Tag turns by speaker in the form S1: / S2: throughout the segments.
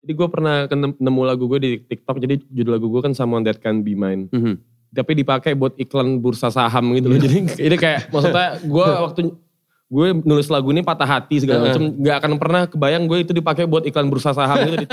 S1: Jadi gue pernah kenem- nemu lagu gue di TikTok, jadi judul lagu gue kan Someone That Can Be Mine.
S2: Mhm.
S1: Tapi dipakai buat iklan bursa saham gitu loh. Jadi ini kayak maksudnya gue waktu gue nulis lagu ini patah hati segala macam, nggak akan pernah kebayang gue itu dipakai buat iklan bursa saham gitu.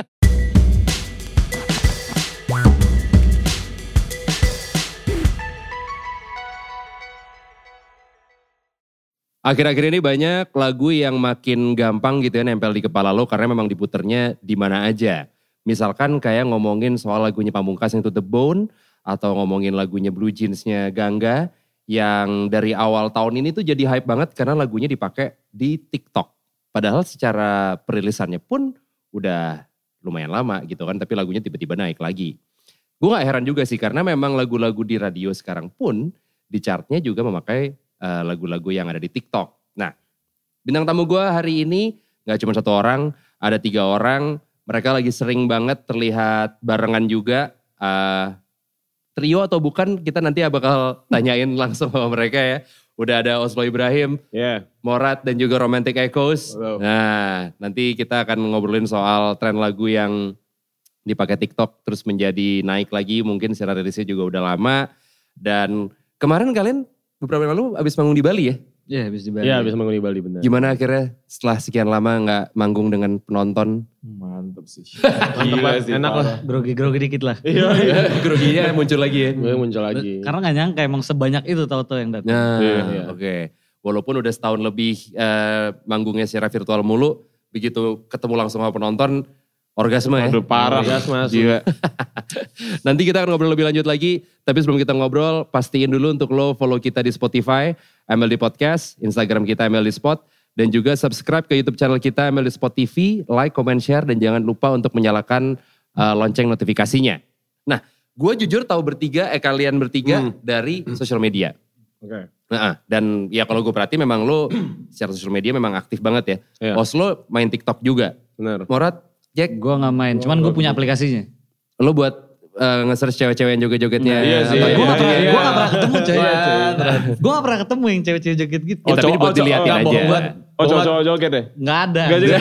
S2: Akhir-akhir ini banyak lagu yang makin gampang gitu ya nempel di kepala lo karena memang diputernya di mana aja. Misalkan kayak ngomongin soal lagunya Pamungkas yang To The Bone atau ngomongin lagunya Blue Jeansnya Gangga yang dari awal tahun ini tuh jadi hype banget karena lagunya dipakai di TikTok. Padahal secara perilisannya pun udah lumayan lama gitu kan tapi lagunya tiba-tiba naik lagi. Gue gak heran juga sih karena memang lagu-lagu di radio sekarang pun di chartnya juga memakai eh, lagu-lagu yang ada di TikTok. Nah, bintang tamu gue hari ini nggak cuma satu orang, ada tiga orang. Mereka lagi sering banget terlihat barengan juga. Eh, trio atau bukan kita nanti bakal tanyain langsung sama mereka ya. Udah ada Oslo Ibrahim,
S1: Ya.
S2: Morat dan juga Romantic Echoes.
S1: Wow.
S2: Nah, nanti kita akan ngobrolin soal tren lagu yang dipakai TikTok terus menjadi naik lagi. Mungkin secara rilisnya juga udah lama. Dan kemarin kalian beberapa hari lalu abis manggung di Bali ya?
S3: Iya habis di Bali.
S1: Iya bisa mengenai Bali benar.
S2: Gimana akhirnya setelah sekian lama nggak manggung dengan penonton?
S4: Mantep sih.
S1: Gila sih,
S4: Enak lah.
S3: Grogi-grogi dikit lah.
S1: Iya.
S2: Groginya muncul lagi ya?
S1: Gue muncul lagi.
S3: Karena gak nyangka emang sebanyak itu tahu-tahu yang datang.
S2: Nah,
S1: Iya, iya.
S2: oke. Walaupun udah setahun lebih eh, manggungnya secara virtual mulu, begitu ketemu langsung sama penonton, orgasme ya?
S4: Aduh parah.
S1: Gas Iya, mas.
S4: Gila.
S2: Nanti kita akan ngobrol lebih lanjut lagi. Tapi sebelum kita ngobrol, pastiin dulu untuk lo follow kita di Spotify, MLD Podcast, Instagram kita MLD Spot, dan juga subscribe ke YouTube channel kita MLD Spot TV, like, comment, share, dan jangan lupa untuk menyalakan uh, lonceng notifikasinya. Nah, gue jujur tahu bertiga, eh kalian bertiga
S1: Hmm.
S2: dari sosial media.
S1: Oke.
S2: Nah, dan ya kalau gue perhati memang lo secara sosial media memang aktif banget ya.
S1: Iya.
S2: Oslo main TikTok juga.
S1: Benar.
S2: Morat, Jack,
S3: Gue gak main, cuman gue punya aplikasinya.
S2: lo buat uh, nge-search cewek-cewek yang joget-jogetnya. ya?
S1: Iya sih,
S2: atau
S1: iya,
S3: gue
S2: yang
S3: gak pernah,
S1: iya.
S3: gua nggak pernah ketemu coy.
S1: Iya, Oh,
S3: gue gak pernah ketemu yang cewek-cewek joget gitu.
S2: Ya, tapi
S4: cowok-
S2: buat
S4: cowok-
S2: diliatin aja.
S4: nggak,
S2: Iya.
S4: bohong banget. Oh cowok-cowok joget deh.
S3: Gak ada.
S4: Gak juga.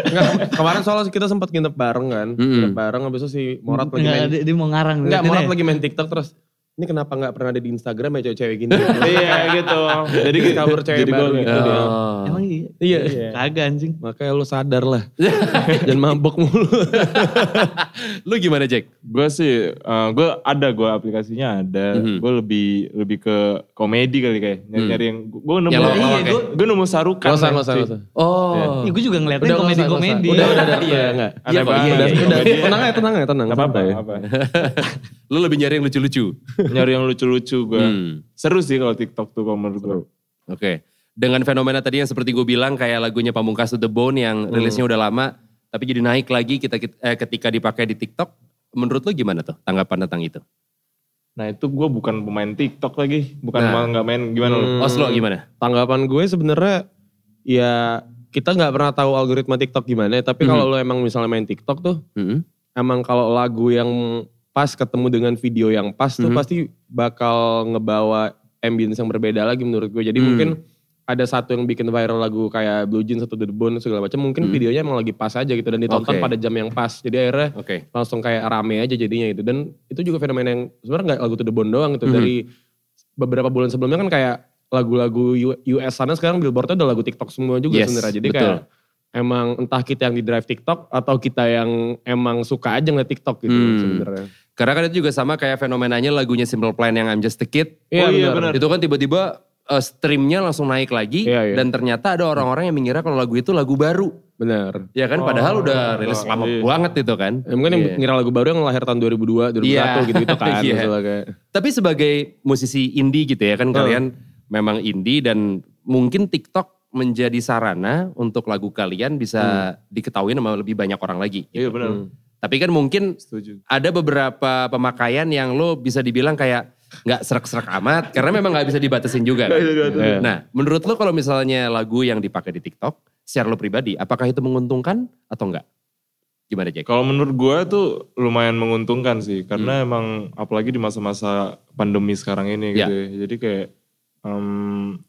S1: Enggak, kemarin soalnya kita sempat nginep bareng kan. Nginep bareng habis itu si Morat lagi
S3: Nggak,
S1: main.
S3: dia, dia mau ngarang.
S1: Enggak,
S3: Dia-
S4: ya?
S1: Morat
S3: dia-
S1: lagi main TikTok terus. Ini kenapa nggak pernah ada di Instagram ya cewek-cewek gini?
S4: Iya gitu. Jadi
S1: Discover cewek
S4: jadi
S1: baru
S4: gua- "Ah,
S1: gitu dia.
S2: Oh.
S3: Emang iya?
S1: Iya.
S3: Kagak anjing.
S1: Makanya lu sadar lah.
S4: Iya.
S1: Jangan mabok mulu.
S2: Lu gimana Jack?
S4: Gue sih, eh, gue ada gue aplikasinya ada.
S2: Mhm.
S4: Gue lebih lebih ke komedi kali kayak nyari,
S1: Mhm.
S4: -nyari yang gue nemu.
S2: Yang lawak-lawak
S4: Iya, gue nemu sarukan.
S1: Ya, Gak usah,
S4: ya,
S1: gak usah,
S4: cuy.
S1: gak usah.
S2: Oh.
S3: gue juga ngeliatnya
S1: nggak usah, nggak usah.
S3: komedi-komedi.
S1: Udah, udah, udah. Iya, enggak.
S4: Aneh
S2: Iya, Pak,
S4: banget.
S2: iya,
S1: Udah,
S2: iya,
S1: udah.
S4: Komedi ya.
S1: Tenang aja, tenang aja, tenang.
S4: Gak apa-apa.
S1: santai.
S4: ya. gak apa-apa.
S2: Lu lebih nyari yang lucu-lucu.
S4: Nyari yang lucu-lucu gue.
S2: Hmm.
S4: Seru sih kalau TikTok tuh kalau menurut gue.
S2: Oke. Dengan fenomena tadi yang seperti gue bilang kayak lagunya Pamungkas to the Bone yang rilisnya udah lama tapi jadi naik lagi kita eh, ketika dipakai di TikTok. Menurut lu gimana tuh tanggapan tentang itu?
S4: Nah itu gue bukan pemain TikTok lagi. Bukan
S2: Nah.
S4: malah gak main gimana lu.
S1: Hmm.
S2: Oslo gimana?
S1: Tanggapan gue sebenarnya ya kita nggak pernah tahu algoritma TikTok gimana, ya.
S4: Hmm.
S1: tapi kalau lo emang misalnya main TikTok tuh,
S2: Mm-mm.
S1: emang kalau lagu yang pas ketemu dengan video yang pas tuh
S2: Mhm.
S1: pasti bakal ngebawa ambience yang berbeda lagi menurut gue. Jadi
S2: Hmm.
S1: mungkin ada satu yang bikin viral lagu kayak Blue Jeans atau The Bone segala macam, mungkin
S2: Hmm.
S1: videonya emang lagi pas aja gitu dan ditonton
S2: Oke.
S1: pada jam yang pas. Jadi akhirnya
S2: Oke.
S1: langsung kayak rame aja jadinya itu. Dan itu juga fenomena yang sebenarnya nggak lagu To The Bone doang gitu.
S2: Mhm.
S1: Dari beberapa bulan sebelumnya kan kayak lagu-lagu U- US sana sekarang billboardnya udah lagu TikTok semua juga
S2: Yes,
S1: sebenarnya. Jadi
S2: betul.
S1: kayak emang entah kita yang di drive TikTok atau kita yang emang suka aja ngeliat TikTok gitu
S2: Hmm.
S1: sebenarnya.
S2: Karena kan itu juga sama kayak fenomenanya lagunya Simple Plan yang I'm Just a Kid.
S1: Iya,
S4: iya,
S1: benar.
S4: benar.
S2: Itu kan tiba-tiba eh, streamnya langsung naik lagi
S1: Iya, iya.
S2: dan ternyata ada orang-orang yang mengira kalau lagu itu lagu baru.
S1: Benar.
S2: Ya kan padahal udah rilis
S4: oh,
S2: lama
S4: iya.
S2: banget itu kan.
S1: Ya, mungkin yang
S2: Iya.
S1: ngira lagu baru yang lahir tahun 2002, 2001
S2: Iya.
S1: gitu-gitu kan.
S2: Iya.
S1: Misalnya kayak.
S2: Tapi sebagai musisi indie gitu ya kan kalian memang indie dan mungkin TikTok menjadi sarana untuk lagu kalian
S1: Hmm.
S2: bisa diketahui sama lebih banyak orang lagi.
S4: Iya benar.
S2: Tapi kan mungkin
S4: Setuju.
S2: ada beberapa pemakaian yang lo bisa dibilang kayak nggak serak-serak amat karena memang nggak bisa dibatasin juga. kan?
S1: Iya.
S2: Nah, menurut lo kalau misalnya lagu yang dipakai di TikTok, secara lo pribadi, apakah itu menguntungkan atau enggak? Gimana Jack?
S4: Kalau menurut gue tuh lumayan menguntungkan sih, karena emang apalagi di masa-masa pandemi sekarang ini gitu. ya. Jadi kayak em,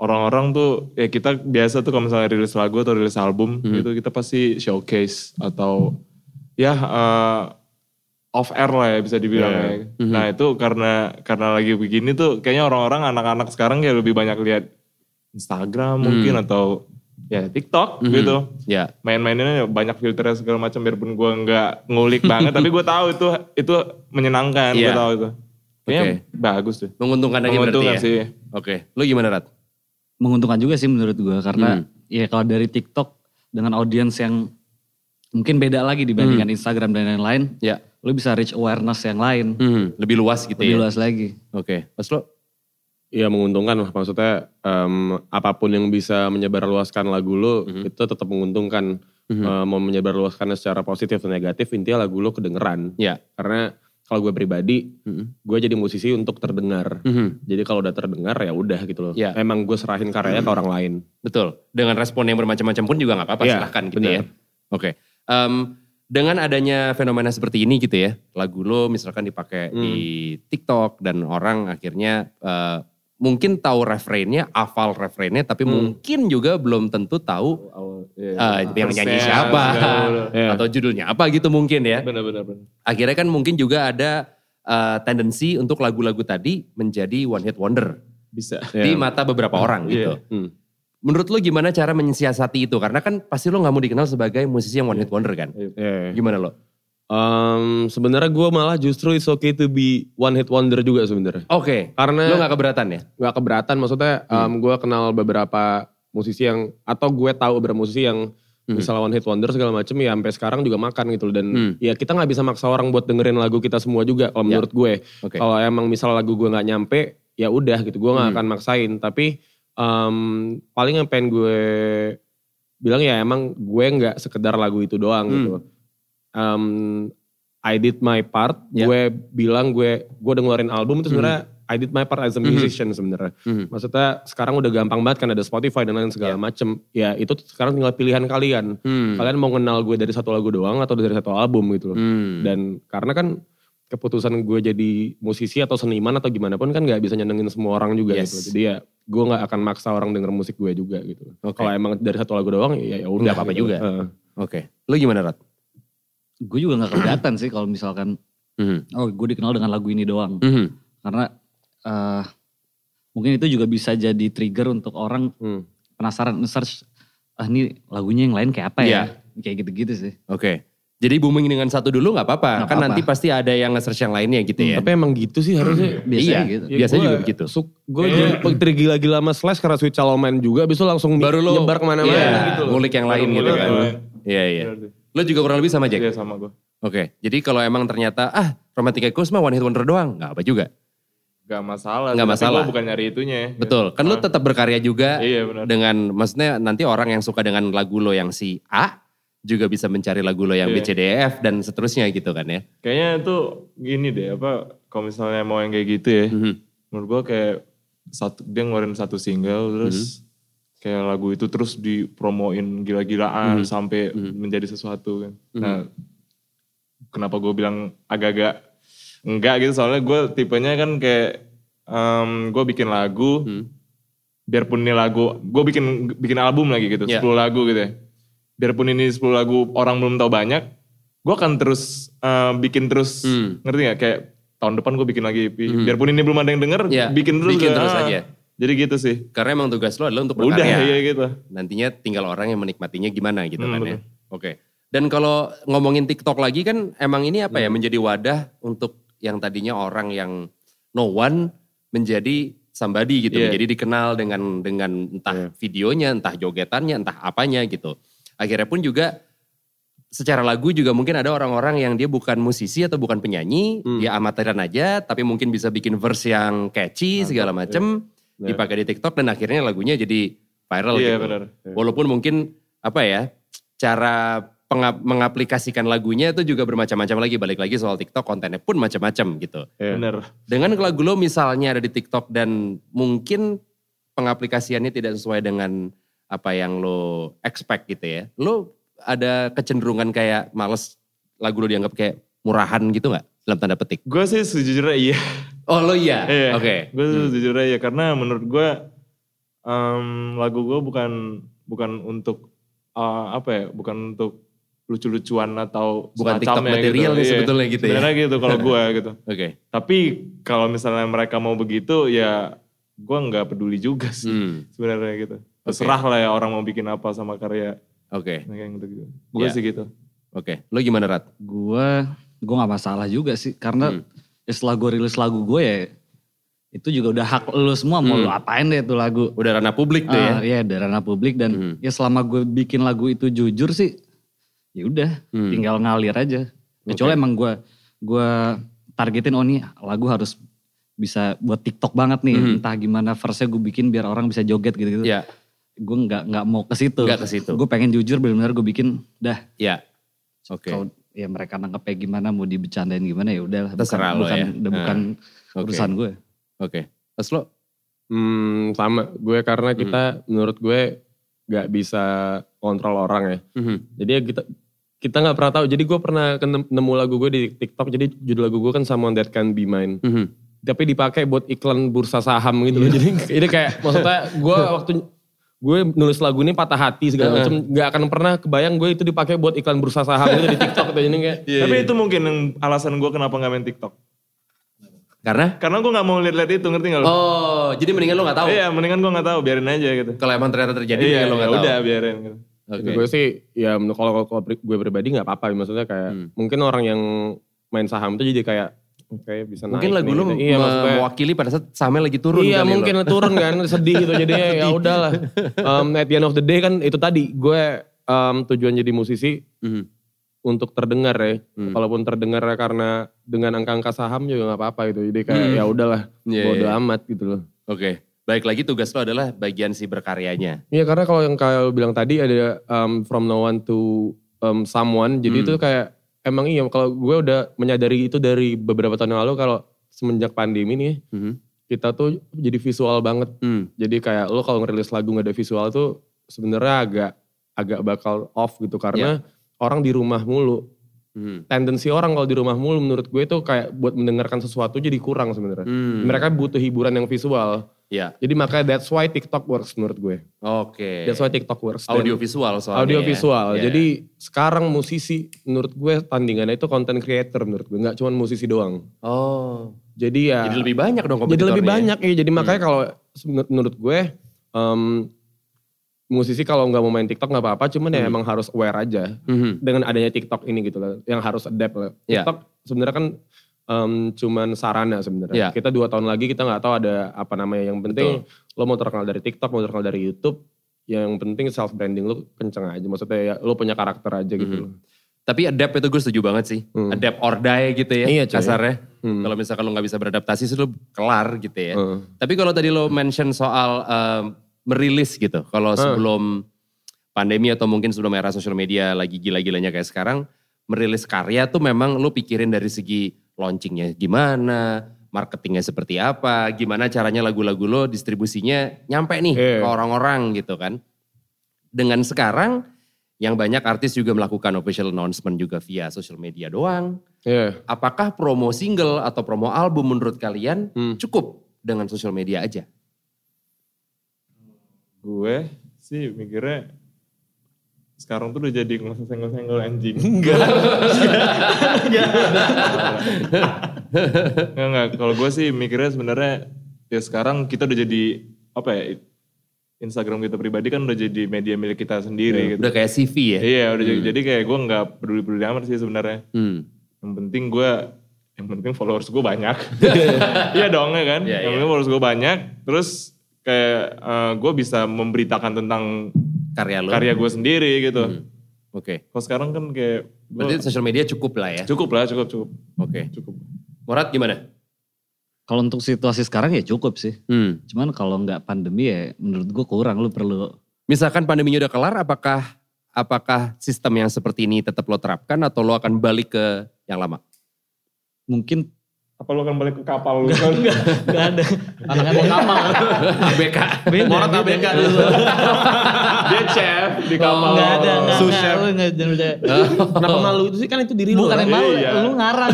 S4: orang-orang tuh ya kita biasa tuh kalau misalnya rilis lagu atau rilis album gitu kita pasti showcase atau ya eh, off air lah ya bisa dibilang
S2: Iya.
S4: ya. Nah itu karena karena lagi begini tuh kayaknya orang-orang anak-anak sekarang kayak lebih banyak lihat Instagram mungkin atau ya TikTok gitu.
S2: Ya.
S4: Main-mainnya banyak filternya segala macam biarpun gua nggak ngulik banget tapi gue tahu itu itu menyenangkan
S2: Iya.
S4: gue tahu itu. Kayaknya
S2: Oke.
S4: bagus tuh.
S2: Menguntungkan lagi berarti
S4: Menguntungkan
S2: ya.
S4: sih.
S2: Oke. Lu gimana Rat?
S3: menguntungkan juga sih menurut gua
S1: Hmm.
S3: karena ya kalau dari TikTok dengan audiens yang mungkin beda lagi dibandingkan
S1: Hmm.
S3: Instagram dan lain-lain,
S2: Ya.
S3: lu bisa reach awareness yang lain
S2: Mhm, Lebih luas gitu ya.
S3: lebih luas lagi.
S2: Oke. Mas lo?
S1: Iya menguntungkan lah maksudnya em, apapun yang bisa menyebarluaskan lagu lo itu tetap menguntungkan. Eh, mau menyebarluaskannya secara positif atau negatif intinya lagu lo kedengeran.
S2: Ya.
S1: Karena kalau gue pribadi
S2: Mhm.
S1: gue jadi musisi untuk terdengar.
S2: Mhm.
S1: Jadi kalau udah terdengar ya udah gitu loh.
S2: Iya.
S1: Emang gue serahin karyanya ke orang lain.
S2: Betul. Dengan respon yang bermacam-macam pun juga nggak apa-apa,
S1: Iya,
S2: silahkan gitu
S1: benar.
S2: ya. Oke. Em, dengan adanya fenomena seperti ini gitu ya, lagu lo misalkan dipakai di TikTok dan orang akhirnya eh, mungkin tahu refrainnya, hafal refrainnya, tapi mungkin juga belum tentu tahu eh, yang nyanyi
S4: Persen,
S2: siapa
S4: bener-bener.
S1: Iya.
S2: atau judulnya apa gitu mungkin ya.
S4: Bener-bener. bener.
S2: Akhirnya kan mungkin juga ada eh, tendensi untuk lagu-lagu tadi menjadi one hit wonder
S4: Bisa.
S2: di
S1: Iya.
S2: mata beberapa orang
S4: Iya.
S2: gitu.
S1: Hmm.
S2: Menurut lo gimana cara mensiasati itu? Karena kan pasti lo nggak mau dikenal sebagai musisi yang one hit wonder kan?
S1: Iya.
S2: Gimana lo?
S1: Em, sebenarnya gue malah justru it's okay to be one hit wonder juga sebenarnya.
S2: Oke,
S1: Karena
S2: lo nggak keberatan ya?
S1: nggak keberatan maksudnya
S2: Hmm.
S1: gue kenal beberapa musisi yang atau gue tahu beberapa musisi yang misalnya one hit wonder segala macem ya sampai sekarang juga makan gitu loh dan
S2: Hmm.
S1: ya kita nggak bisa maksa orang buat dengerin lagu kita semua juga kalau
S2: Ya.
S1: menurut gue
S2: Oke.
S1: kalau emang misalnya lagu gue nggak nyampe ya udah gitu gue nggak
S2: Hmm.
S1: akan maksain tapi em, paling yang pengen gue bilang ya emang gue nggak sekedar lagu itu doang
S2: Hmm.
S1: gitu loh. Em, I did my part
S2: Ya.
S1: gue bilang gue gue udah ngeluarin album itu sebenarnya
S2: Hmm.
S1: I did my part as a musician sebenarnya
S2: Mhm.
S1: Maksudnya sekarang udah gampang banget kan ada Spotify dan lain segala macem. Ya itu tuh sekarang tinggal pilihan kalian.
S2: Hmm.
S1: Kalian mau kenal gue dari satu lagu doang atau dari satu album gitu loh.
S2: Hmm.
S1: Dan karena kan keputusan gue jadi musisi atau seniman atau gimana pun kan gak bisa nyenengin semua orang juga
S2: Yes.
S1: gitu loh. Jadi ya gue gak akan maksa orang denger musik gue juga gitu loh.
S2: Oke.
S1: Kalau emang dari satu lagu doang ya ya udah.
S2: Nggak apa-apa
S1: gitu
S2: juga.
S1: loh. Heeh.
S2: Oke, lo gimana Rat?
S3: Gue juga nggak keberatan sih kalau misalkan
S2: Mhm.
S3: oh gue dikenal dengan lagu ini doang
S2: Mhm.
S3: karena eh, mungkin itu juga bisa jadi trigger untuk orang
S1: Hmm.
S3: penasaran search ah ini lagunya yang lain kayak apa ya
S2: Iya.
S3: kayak gitu-gitu sih
S2: Oke, jadi booming dengan satu dulu nggak apa-apa.
S3: Nggak
S2: Kan
S3: apa-apa.
S2: nanti pasti ada yang nge-search yang lainnya gitu ya.
S1: Tapi emang gitu sih harusnya.
S3: biasanya
S2: iya,
S3: gitu
S1: Ya,
S2: biasanya juga begitu.
S1: Gue
S2: Iya.
S1: jadi petir gila-gila sama Slash karena Switch Chaloman juga. Abis itu langsung
S2: Baru lo
S1: nyebar kemana-mana
S2: Iya,
S1: gitu loh.
S2: Ngulik yang lain
S4: Baru
S2: gitu
S4: ngulik
S2: kan.
S4: yang lain.
S2: Iya, iya.
S4: Bener tuh.
S2: Lo juga kurang lebih sama Jack?
S4: Iya sama gue.
S2: Oke, jadi kalau emang ternyata, ah Romantic Echoes mah one hit wonder doang, nggak apa juga.
S4: Gak masalah.
S2: Nggak
S4: Tapi
S2: masalah.
S4: Gue bukan nyari itunya. ya.
S2: Betul, kan lo tetap berkarya juga.
S4: Iya benar.
S2: dengan maksudnya nanti orang yang suka dengan lagu lo yang si A juga bisa mencari lagu lo yang B,
S4: Iya.
S2: C, D, E, F dan seterusnya gitu kan ya.
S4: Kayaknya itu gini deh apa kalau misalnya mau yang kayak gitu ya. Menurut gue kayak satu dia ngeluarin satu single terus kayak lagu itu terus dipromoin gila-gilaan sampai menjadi sesuatu kan. Nah, kenapa gue bilang agak-agak enggak gitu soalnya gue tipenya kan kayak gue bikin lagu
S2: Hmm.
S4: biarpun ini lagu gue bikin bikin album lagi gitu
S2: Iya.
S4: 10 lagu gitu ya biarpun ini 10 lagu orang belum tahu banyak gue akan terus eh, bikin terus
S2: Hmm.
S4: ngerti nggak kayak tahun depan gue bikin lagi biarpun ini belum ada yang denger
S2: Iya,
S4: bikin terus
S2: bikin
S4: gua.
S2: terus
S4: Ah,
S2: aja.
S4: jadi gitu sih
S2: Karena emang tugas lo adalah untuk
S4: udah
S2: berkarya.
S4: ya gitu
S2: Nantinya tinggal orang yang menikmatinya gimana gitu
S4: Hmm,
S2: kan ya. Oke. Dan kalau ngomongin TikTok lagi kan emang ini apa ya
S4: Hmm.
S2: menjadi wadah untuk yang tadinya orang yang no one menjadi somebody gitu.
S4: Iya.
S2: Menjadi dikenal dengan dengan entah videonya, entah jogetannya, entah apanya gitu. Akhirnya pun juga secara lagu juga mungkin ada orang-orang yang dia bukan musisi atau bukan penyanyi,
S4: Hmm.
S2: dia amatiran aja, tapi mungkin bisa bikin verse yang catchy
S4: iya.
S2: segala macem, dipakai di TikTok dan akhirnya lagunya jadi viral
S4: Iya,
S2: gitu.
S4: benar.
S2: Walaupun mungkin apa ya, cara penga- mengaplikasikan lagunya itu juga bermacam-macam lagi, balik lagi soal TikTok kontennya pun macam-macam gitu.
S1: Iya.
S4: bener
S2: Dengan lagu lo misalnya ada di TikTok dan mungkin pengaplikasiannya tidak sesuai dengan apa yang lo expect gitu ya. Lo ada kecenderungan kayak males lagu lo dianggap kayak murahan gitu nggak dalam tanda petik?
S4: gue sih sejujurnya iya
S2: Oh lo iya?
S4: Iya.
S2: Oke.
S4: Gue sejujurnya ya karena menurut gue em, lagu gue bukan bukan untuk eh, apa ya bukan untuk lucu-lucuan atau
S2: Bukan TikTok
S4: semacamnya
S2: material nih
S4: Iya.
S2: sebetulnya gitu ya.
S4: Sebenarnya gitu kalau gue gitu.
S2: Oke.
S4: Tapi kalau misalnya mereka mau begitu ya gue nggak peduli juga sih
S2: Hmm.
S4: sebenarnya gitu. Terserah lah ya orang mau bikin apa sama karya
S2: Oke.
S4: mereka yang gitu. Gue
S2: Iya.
S4: sih gitu.
S2: Oke. Lo gimana Rat?
S3: Gue gue nggak masalah juga sih karena
S2: Hmm.
S3: ya setelah gue rilis lagu gue ya itu juga udah hak lu semua mau
S2: Hmm.
S3: lu apain deh itu lagu.
S2: Udah ranah publik tuh ya.
S3: Ah, Iya dari ranah publik dan
S2: Hmm.
S3: ya selama gue bikin lagu itu jujur sih ya udah
S2: Hmm.
S3: tinggal ngalir aja. Kecuali
S2: Oke.
S3: emang gue gue targetin oh nih lagu harus bisa buat TikTok banget nih
S2: Hmm.
S3: entah gimana verse gue bikin biar orang bisa joget gitu-gitu.
S2: Iya.
S3: Gue nggak nggak mau ke situ.
S2: Nggak ke situ.
S3: Gue pengen jujur benar-benar gue bikin dah.
S2: Iya. Oke.
S3: Kalau ya mereka nangkepnya gimana mau dibecandain gimana ya udahlah. Bukan-
S2: Terserah lo
S3: bukan,
S2: ya.
S3: Udah
S2: Ah,
S3: bukan
S2: Oke.
S3: urusan gue.
S2: Oke. Terus lo?
S1: Hmm, sama gue karena kita menurut gue nggak bisa kontrol orang ya.
S2: Mhm.
S1: Jadi ya kita kita nggak pernah tahu. Jadi gue pernah kenem- nemu lagu gue di TikTok. Jadi judul lagu gue kan Someone That Can Be Mine.
S2: Mhm.
S1: Tapi dipakai buat iklan bursa saham gitu loh.
S2: Iya.
S1: Jadi ini kayak maksudnya gue waktu gue nulis lagu ini patah hati segala macam. Nggak akan pernah kebayang gue itu dipakai buat iklan bursa saham gitu di TikTok. Gitu. Jadi kayak
S2: Iya,
S4: Tapi itu mungkin yang alasan gue kenapa nggak main TikTok.
S2: Karena?
S4: Karena gue nggak mau lihat-lihat itu ngerti nggak lo?
S2: Oh, jadi mendingan lo gak tahu.
S4: Iya, mendingan gue nggak tahu, biarin aja gitu.
S2: Kalau emang ternyata terjadi,
S4: iya,
S2: mendingan lo
S4: ya
S2: gak tahu.
S4: udah biarin. Gitu.
S2: Oke.
S1: Gitu, gue sih ya menurut- kalau kalau- kalau pri- gue pribadi nggak apa-apa ya. maksudnya kayak
S2: Hmm.
S1: mungkin orang yang main saham itu jadi kayak oke bisa naik
S2: Mungkin lagu
S1: nih,
S2: lo
S1: gitu. iya,
S2: me-
S1: maksudnya,
S2: mewakili pada saat sahamnya lagi turun
S1: iya
S2: kali ya, lo.
S1: mungkin turun kan sedih gitu jadinya ya udahlah um, at the end of the day kan itu tadi gue um, tujuan jadi musisi
S2: Mhm.
S1: untuk terdengar ya
S2: Hmm.
S1: kalaupun terdengar karena dengan angka-angka saham juga nggak apa-apa gitu jadi kayak
S2: Hmm.
S1: ya udahlah
S2: Iya,
S1: bodo
S2: iya.
S1: amat gitu loh
S2: Oke. Baik lagi tugas lo adalah bagian si berkaryanya.
S1: Iya karena kalau yang kayak lu bilang tadi ada um, from no one to um, someone. Jadi
S2: Hmm.
S1: itu kayak emang iya kalau gue udah menyadari itu dari beberapa tahun yang lalu kalau semenjak pandemi nih
S2: Mhm.
S1: kita tuh jadi visual banget.
S2: Hmm.
S1: Jadi kayak lo kalau ngerilis lagu nggak ada visual tuh sebenarnya agak agak bakal off gitu karena
S2: Iya.
S1: orang di rumah mulu.
S2: Hmm.
S1: Tendensi orang kalau di rumah mulu menurut gue itu kayak buat mendengarkan sesuatu jadi kurang sebenarnya.
S2: Hmm.
S1: Mereka butuh hiburan yang visual.
S2: Iya.
S1: Jadi makanya that's why TikTok works menurut gue.
S2: Oke.
S1: That's why TikTok works. Dan-
S2: Audio visual soalnya.
S1: audio visual.
S2: ya. Iya.
S1: Jadi sekarang musisi menurut gue tandingannya itu content creator menurut gue, nggak cuma musisi doang.
S2: Oh.
S1: Jadi ya
S2: Jadi lebih Hmm. banyak dong
S1: jadi lebih
S2: kompetitornya.
S1: banyak ya. Jadi makanya kalau menur- menurut gue em, musisi kalau nggak mau main TikTok nggak apa-apa, cuman ya
S2: Hmm.
S1: emang harus aware aja
S2: Mhm.
S1: dengan adanya TikTok ini gitu loh, yang harus adapt loh.
S2: Iya.
S1: TikTok sebenarnya kan em, cuman sarana sebenarnya.
S2: Iya.
S1: Kita dua tahun lagi kita nggak tahu ada apa namanya. Yang penting lo mau terkenal dari TikTok, mau terkenal dari YouTube, yang penting self branding lo kenceng aja. Maksudnya ya lo punya karakter aja gitu
S2: Mhm.
S1: loh.
S2: Tapi adapt itu gue setuju banget sih.
S1: Hmm.
S2: Adapt or die gitu ya
S1: Iya, cuy.
S2: kasarnya.
S1: Hmm.
S2: Kalau misalkan lo nggak bisa beradaptasi sih lo kelar gitu ya.
S1: Heeh.
S2: Tapi kalau tadi lo mention soal um, merilis gitu. Kalau
S1: Hmm.
S2: sebelum pandemi atau mungkin sebelum era sosial media lagi gila-gilanya kayak sekarang. Merilis karya tuh memang lo pikirin dari segi launchingnya gimana. Marketingnya seperti apa. Gimana caranya lagu-lagu lo distribusinya nyampe nih
S1: Iya.
S2: ke orang-orang gitu kan. Dengan sekarang yang banyak artis juga melakukan official announcement juga via social media doang.
S1: Iya.
S2: Apakah promo single atau promo album menurut kalian
S1: Hmm.
S2: cukup dengan social media aja?
S4: Gue sih mikirnya sekarang tuh udah jadi ngesenggol-senggol anjing. Enggak. Enggak. Enggak, enggak. Kalau gue sih mikirnya sebenarnya ya sekarang kita udah jadi apa ya Instagram kita pribadi kan udah jadi media milik kita sendiri
S1: Iya.
S4: gitu.
S2: Udah kayak CV ya?
S4: Iya, udah jadi, jadi kayak gue nggak peduli-peduli amat sih sebenarnya.
S2: Hmm.
S4: yang penting gue yang penting followers gue banyak iya dong ya kan
S2: Iya,
S4: yang
S2: iya.
S4: penting followers gue banyak terus kayak gue bisa memberitakan tentang
S2: Karya lo?
S4: karya gue sendiri gitu
S2: Oke.
S4: kalau sekarang kan kayak gua-
S2: Hmm. Berarti social media cukup lah ya?
S4: cukup lah cukup cukup
S2: Oke.
S4: cukup
S2: Morat gimana?
S3: Kalau untuk situasi sekarang ya cukup sih.
S2: Hmm.
S3: Cuman kalau nggak pandemi ya menurut gue kurang lu perlu
S2: Misalkan pandeminya udah kelar, apakah apakah sistem yang seperti ini tetap lo terapkan atau lo akan balik ke yang lama?
S3: mungkin
S4: apa lu akan balik ke kapal lu kan
S3: nggak ada jangan mau kapal
S2: ABK.
S3: Morat ABK dulu
S4: dia chef di
S2: Oh,
S4: kapal
S3: nggak ada nggak
S4: sous
S3: nggak
S4: chef
S3: lu nggak jangan percaya
S1: Oh, Kenapa malu itu sih kan itu diri lo.
S3: bukan yang
S1: kan?
S3: malu
S4: Iya.
S3: lu ngarang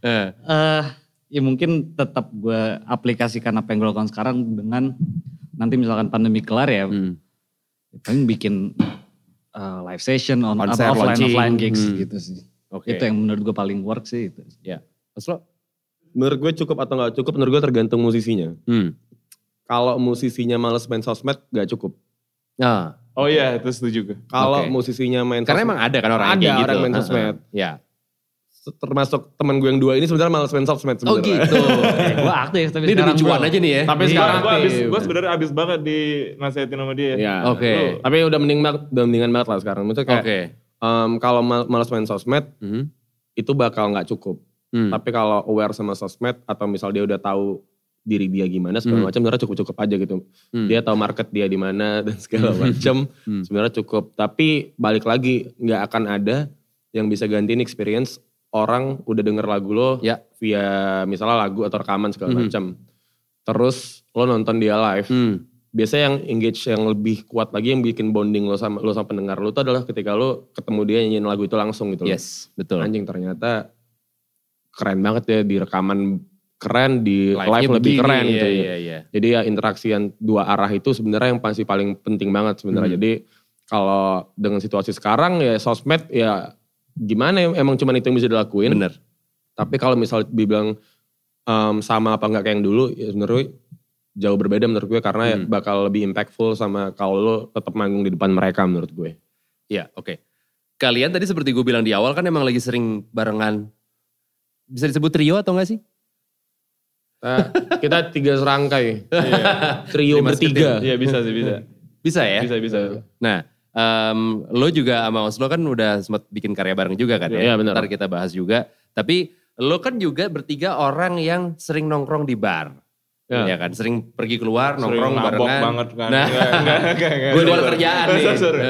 S2: Eh,
S3: Eh, ya mungkin tetap gue aplikasikan apa yang gue lakukan sekarang dengan nanti misalkan pandemi kelar ya
S2: Hmm.
S3: paling bikin uh, live session on apa,
S2: Konser,
S3: offline
S2: launching.
S3: offline gigs
S2: Hmm.
S3: gitu sih
S2: Oke.
S3: itu yang menurut gue paling work sih itu
S2: Terus lo?
S1: Menurut gue cukup atau nggak cukup, menurut gue tergantung musisinya.
S2: Hmm.
S1: Kalau musisinya males main sosmed, nggak cukup.
S2: Nah,
S4: Oh iya, itu setuju gue.
S1: Kalau
S2: Oke.
S1: musisinya main
S2: karena
S1: sosmed,
S2: emang ada kan orang
S1: Ada
S2: yang kayak gitu.
S1: orang main
S2: Heeh.
S1: sosmed.
S2: Ya.
S1: termasuk teman gue yang dua ini sebenarnya malas main sosmed
S2: Oh
S1: sebenarnya.
S2: gitu.
S1: eh,
S3: gue aktif tapi
S2: Ini udah
S3: sekarang
S2: lucuan
S3: belum.
S2: aja nih ya.
S1: Tapi
S4: Tapi sekarang
S1: sekarang
S4: gue abis,
S1: aktif.
S2: iya.
S4: gue sebenarnya abis banget di nasihatin sama dia.
S1: Iya.
S2: Oke.
S1: Tapi udah mending banget- udah mendingan banget lah sekarang. Maksudnya kayak
S2: Oke.
S1: em, kalau mal- malas main sosmed
S2: Mhm.
S1: itu bakal nggak cukup.
S2: Hmm.
S1: Tapi kalau aware sama sosmed atau misal dia udah tahu diri dia gimana segala
S2: Hmm.
S1: macam sebenarnya cukup-cukup aja gitu.
S2: Hmm.
S1: Dia tahu market dia di mana dan segala macam
S2: Hmm.
S1: sebenarnya cukup. Tapi balik lagi nggak akan ada yang bisa gantiin experience orang udah denger lagu lo
S2: Ya.
S1: via misalnya lagu atau rekaman segala
S2: Mhm.
S1: macam. Terus lo nonton dia live
S2: Hmm.
S1: biasanya yang engage yang lebih kuat lagi yang bikin bonding lo sama lo sama pendengar lo itu adalah ketika lo ketemu dia nyanyiin lagu itu langsung gitu loh.
S2: Yes, betul.
S1: Anjing ternyata keren banget ya di rekaman keren di live,
S2: Live-nya
S1: lebih
S2: begini,
S1: keren gitu.
S2: Iya,
S1: ya.
S2: iya, iya.
S1: Jadi ya interaksi yang dua arah itu sebenarnya yang pasti paling penting banget sebenarnya.
S2: Hmm.
S1: Jadi kalau dengan situasi sekarang ya sosmed ya gimana ya emang cuman itu yang bisa dilakuin.
S2: Bener.
S1: Tapi kalau misal dibilang em, sama apa enggak kayak yang dulu, ya menurut gue jauh berbeda menurut gue karena ya
S2: Hmm.
S1: bakal lebih impactful sama kalau lo tetap manggung di depan mereka menurut gue.
S2: Ya, oke. Kalian tadi seperti gue bilang di awal kan emang lagi sering barengan. Bisa disebut trio atau enggak sih?
S1: Nah, kita tiga serangkai, trio
S2: Lima
S1: bertiga.
S4: Iya bisa sih, bisa.
S2: Bisa ya?
S4: Bisa, bisa.
S2: Nah, em, lo juga sama Oslo kan udah sempat bikin karya bareng juga kan ya?
S1: Iya, benar.
S2: Ntar kita bahas juga. Tapi lo kan juga bertiga orang yang sering nongkrong di bar.
S1: Iya.
S2: Ya kan, sering pergi keluar,
S4: Sering
S2: nongkrong
S4: mabok
S2: barengan.
S4: banget kan.
S2: Nah,
S4: Enggak, enggak, enggak, enggak.
S2: gue luar
S4: Sorry.
S2: kerjaan nih.
S4: Sorry, sorry.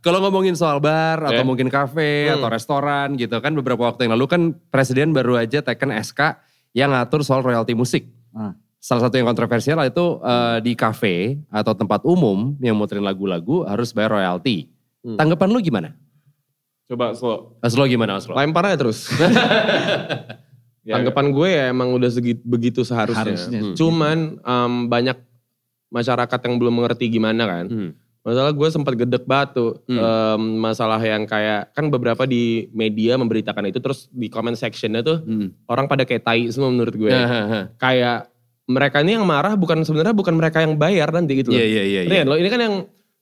S2: Kalau ngomongin soal bar atau
S4: Ya.
S2: mungkin kafe atau restoran gitu kan beberapa waktu yang lalu kan presiden baru aja teken SK yang ngatur soal royalti musik.
S3: Ah.
S2: Salah satu yang kontroversial itu eh, di kafe atau tempat umum yang muterin lagu-lagu harus bayar royalti.
S1: Hmm.
S2: Tanggapan lu gimana?
S4: Coba slow.
S2: Aslo gimana Aslo?
S1: Lempar aja terus.
S4: Ya,
S1: Tanggapan gue ya emang udah segi- begitu seharusnya.
S3: Harusnya.
S1: Hmm. Cuman em, banyak masyarakat yang belum mengerti gimana kan.
S2: Hmm.
S1: Masalah gue sempat gedek batu.
S2: Hmm.
S1: Em, masalah yang kayak kan beberapa di media memberitakan itu terus di comment sectionnya tuh
S2: Hmm.
S1: orang pada kayak tai semua menurut
S2: Iya,
S1: gue.
S2: Hahaha.
S1: Kayak mereka ini yang marah bukan sebenarnya bukan mereka yang bayar nanti gitu loh.
S2: Iya iya iya.
S1: Ngerti
S2: iya.
S1: kan lo? Ini kan yang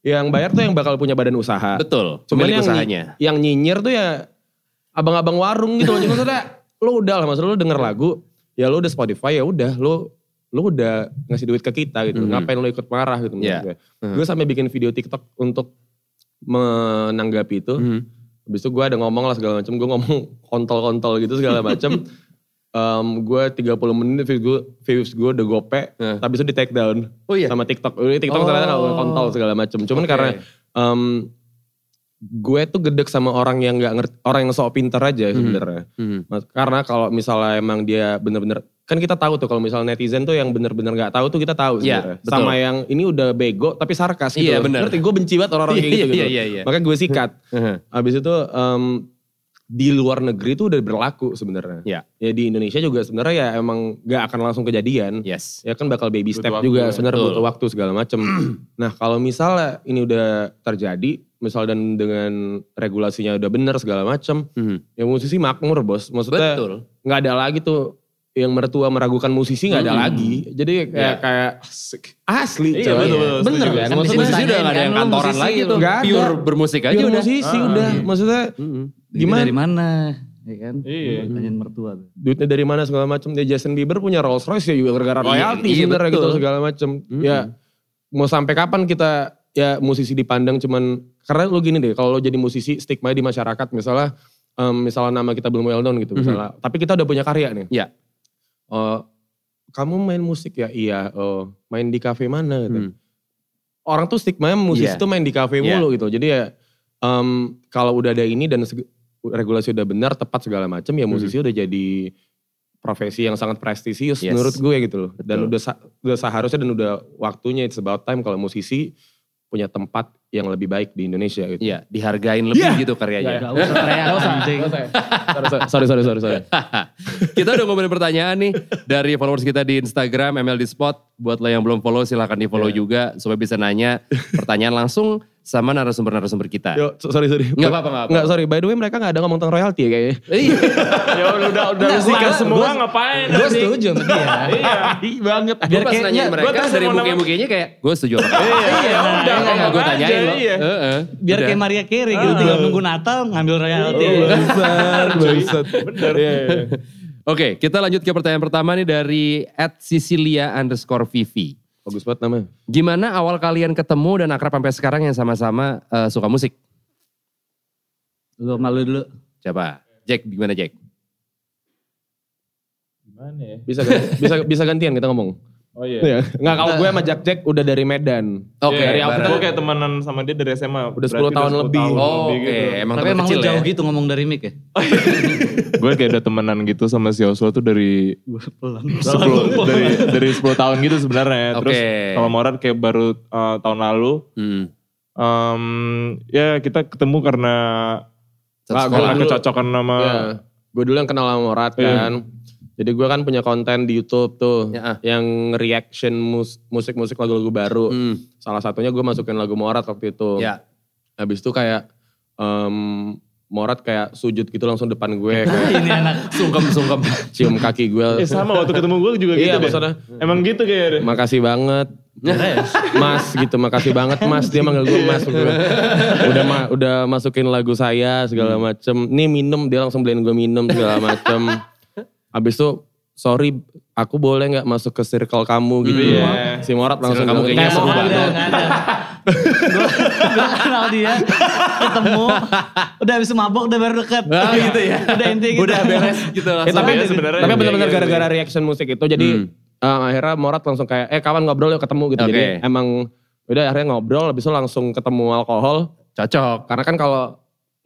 S1: yang bayar tuh yang bakal punya badan usaha.
S2: Betul.
S1: Cuman
S2: pemilik
S1: yang,
S2: usahanya.
S1: yang nyinyir tuh ya abang-abang warung gitu loh. Jadi maksudnya lo udah lah maksudnya lo denger lagu, ya lo udah Spotify ya udah lo lo udah ngasih duit ke kita gitu.
S2: Mhm.
S1: Ngapain lo ikut marah gitu menurut
S2: Iya.
S1: gue.
S2: Mhm.
S1: Gue sampai bikin video TikTok untuk menanggapi itu.
S2: Hmm.
S1: Habis itu gue ada ngomong lah segala macam, gue ngomong kontol-kontol gitu segala macam. Em, gue 30 menit views gue, views gue udah gope,
S2: Eh.
S1: tapi itu di take down
S2: Oh iya.
S1: sama TikTok. Ini TikTok
S2: Oh.
S1: ternyata nggak kontol segala macam. Cuman
S2: Oke.
S1: karena em, gue tuh gedek sama orang yang nggak ngerti, orang yang sok pinter aja sebenarnya.
S2: Hmm.
S1: Mas- Karena kalau misalnya emang dia bener-bener kan kita tahu tuh kalau misalnya netizen tuh yang bener-bener nggak tahu tuh kita tahu
S2: Iya,
S1: sebenarnya.
S2: betul.
S1: Sama yang ini udah bego tapi sarkas gitu.
S2: Iya,
S1: loh.
S2: bener.
S1: Ngerti gue benci banget orang-orang kayak
S2: Iya,
S1: gitu. gitu.
S2: iya, iya, iya.
S1: Makanya gue sikat.
S2: Heeh.
S1: Habis itu em, di luar negeri tuh udah berlaku sebenarnya.
S2: Iya.
S1: Ya di Indonesia juga sebenarnya ya emang nggak akan langsung kejadian
S2: Yes.
S1: ya kan bakal baby
S4: Butuh
S1: step
S4: waktu
S1: juga
S4: ya.
S1: sebenarnya
S2: Betul.
S1: butuh waktu segala macem. nah kalau misalnya ini udah terjadi, misal dan dengan regulasinya udah bener segala macem,
S2: Hmm.
S1: ya musisi makmur bos. Maksudnya
S2: Betul.
S1: nggak ada lagi tuh yang mertua meragukan musisi nggak ada
S2: Hmm.
S1: lagi. Jadi kayak
S2: Iya.
S1: kayak
S4: Asik.
S1: asli
S4: Iya,
S1: coy.
S4: betul, betul,
S1: bener kan.
S4: setuju.
S2: Kan
S1: Maksudnya
S2: musisi
S1: musisi
S2: udah gak ada yang
S3: kan, lu
S2: kantoran
S3: musisi,
S2: lagi tuh.
S1: nggak ada.
S2: Pure bermusik aja
S1: pure
S2: udah.
S1: musisi
S4: Ah.
S1: udah. Maksudnya
S3: gimana
S1: Gimana?
S3: dari mana ya kan
S4: Iya.
S3: tanyain mertua tuh
S1: duitnya dari mana segala macem. Dia Justin Bieber punya Rolls Royce ya juga gara-gara
S2: Oh, iya,
S1: royalti
S2: iya,
S1: sebenarnya
S2: betul.
S1: gitu segala macem.
S2: Hmm.
S1: Ya mau sampai kapan kita ya musisi dipandang cuman karena lo gini deh kalau lo jadi musisi stigma di masyarakat misalnya em, misalnya nama kita belum well known gitu
S2: Mhm.
S1: misalnya tapi kita udah punya karya nih.
S2: Iya.
S1: Eh, kamu main musik ya iya oh main di kafe mana gitu.
S2: Hmm.
S1: Orang tuh stigma musisi
S2: Iya.
S1: tuh main di kafe
S2: Iya.
S1: mulu gitu. Jadi ya em, kalau udah ada ini dan seg- regulasi udah benar tepat segala macam ya
S2: Hmm.
S1: musisi udah jadi profesi yang sangat prestisius
S2: Yes.
S1: menurut gue gitu loh. Dan
S2: Betul.
S1: udah sa- udah seharusnya dan udah waktunya it's about time kalau musisi punya tempat yang lebih baik di Indonesia gitu.
S2: Iya, dihargain lebih
S1: Iya.
S2: gitu karyanya.
S3: Gak usah teriak anjing.
S1: sorry sorry sorry sorry.
S2: kita udah ngobrolin pertanyaan nih dari followers kita di Instagram ML di Spot. Buat lo yang belum follow silahkan di follow juga supaya bisa nanya pertanyaan langsung sama narasumber-narasumber kita.
S1: Yo, so- sorry, sorry.
S2: Nggak apa-apa, nggak apa-apa.
S1: Nggak, sorry. By the way, mereka nggak ada ngomong tentang royalti ya kayaknya.
S2: Iya.
S4: ya udah udah udah
S3: Nah,
S4: sikat
S3: gua-
S4: semua
S3: gua-
S4: ngapain?
S3: Gue
S4: anjing?
S3: setuju sama dia.
S4: Iya.
S1: Ih, banget.
S2: Gue pas
S3: kayaknya-
S2: nanyain
S4: gua
S2: mereka
S4: terus
S2: dari
S4: mau nama-
S2: muka-mukanya kayak gue setuju apa enggak.
S4: Iya, udah
S2: Iya,
S4: ngomong
S2: gue
S4: aja.
S2: tanyain lo.
S4: Iya.
S2: Heeh.
S3: Biar
S2: Udah.
S3: kayak Maria Carey gitu, tinggal nunggu Natal ngambil royalti.
S1: Iya. Bangsat, bangsat. Iya, Bener.
S2: Oke, kita lanjut ke pertanyaan pertama nih dari at Sicilia underscore Vivi.
S1: Bagus banget namanya.
S2: Gimana awal kalian ketemu dan akrab sampai sekarang yang sama-sama eh, suka musik?
S3: Lu malu dulu.
S2: Coba, Jack gimana Jack?
S4: Gimana ya?
S1: Bisa ganti- bisa bisa gantian kita ngomong.
S4: Oh iya.
S1: Iya. Nggak kalau gue sama Jack Jack udah dari Medan.
S2: Oke,
S4: Iya,
S1: awal
S2: bareng.
S4: gue kayak temenan sama dia dari SMA.
S1: Udah 10 tahun lebih.
S2: Oh, Oke, emang
S3: Tapi
S2: teman
S3: emang
S2: kecil
S3: lu jauh
S2: ya.
S3: gitu ngomong dari mic ya?
S4: gue kayak udah temenan gitu sama si Oslo tuh dari
S3: Gue pelan.
S4: 10 dari dari 10 tahun gitu sebenarnya. Terus
S2: Oke.
S4: kalau Morat kayak baru eh, tahun lalu
S2: Hmm.
S4: em, ya kita ketemu karena
S2: Satu
S1: Wah, gua
S2: sekolah.
S4: karena
S1: dulu-
S4: kecocokan sama
S1: Iya. Gue dulu yang kenal sama Morat kan. Jadi gue kan punya konten di YouTube tuh
S2: Ya,
S1: yang reaction mus- musik-musik lagu-lagu baru.
S2: Hmm.
S1: Salah satunya gue masukin lagu Morat waktu itu.
S2: Ya.
S1: Habis itu kayak em, Morat kayak sujud gitu langsung depan gue kayak
S3: Ini anak.
S2: Sungkem-sungkem.
S1: cium kaki gue.
S4: Eh sama waktu ketemu gue juga gitu
S1: Iya,
S4: deh.
S1: maksudnya.
S4: Emang gitu kayaknya deh.
S1: Makasih banget. Mas gitu, makasih banget Mas. Dia manggil gue Mas. Gua
S2: Iya.
S1: bilang, Udah ma- udah masukin lagu saya
S2: Hmm.
S1: segala macem. Nih minum, dia langsung beliin gue minum segala macem. Habis itu sorry aku boleh nggak masuk ke circle kamu gitu.
S4: Iya.
S1: Si Morat langsung
S2: Circle kamu
S1: bilang,
S2: kayaknya
S1: "Kayak gitu.
S2: seru
S1: mau
S2: banget."
S1: ada."
S3: Gue kenal dia, ketemu, udah habis mabok udah baru deket.
S2: Ah, gitu ya.
S3: Udah intinya gitu.
S2: Udah beres gitu
S1: Eh,
S2: langsung.
S1: tapi
S4: Sebenarnya- sebenarnya-
S1: tapi benar-benar
S4: Iya, iya,
S1: gara-gara reaction musik itu jadi
S2: Hmm.
S1: eh, akhirnya Morat langsung kayak eh kawan ngobrol yuk ketemu gitu. Jadi
S2: Oke.
S1: emang udah akhirnya ngobrol habis itu langsung ketemu alkohol.
S2: Cocok.
S1: Karena kan kalau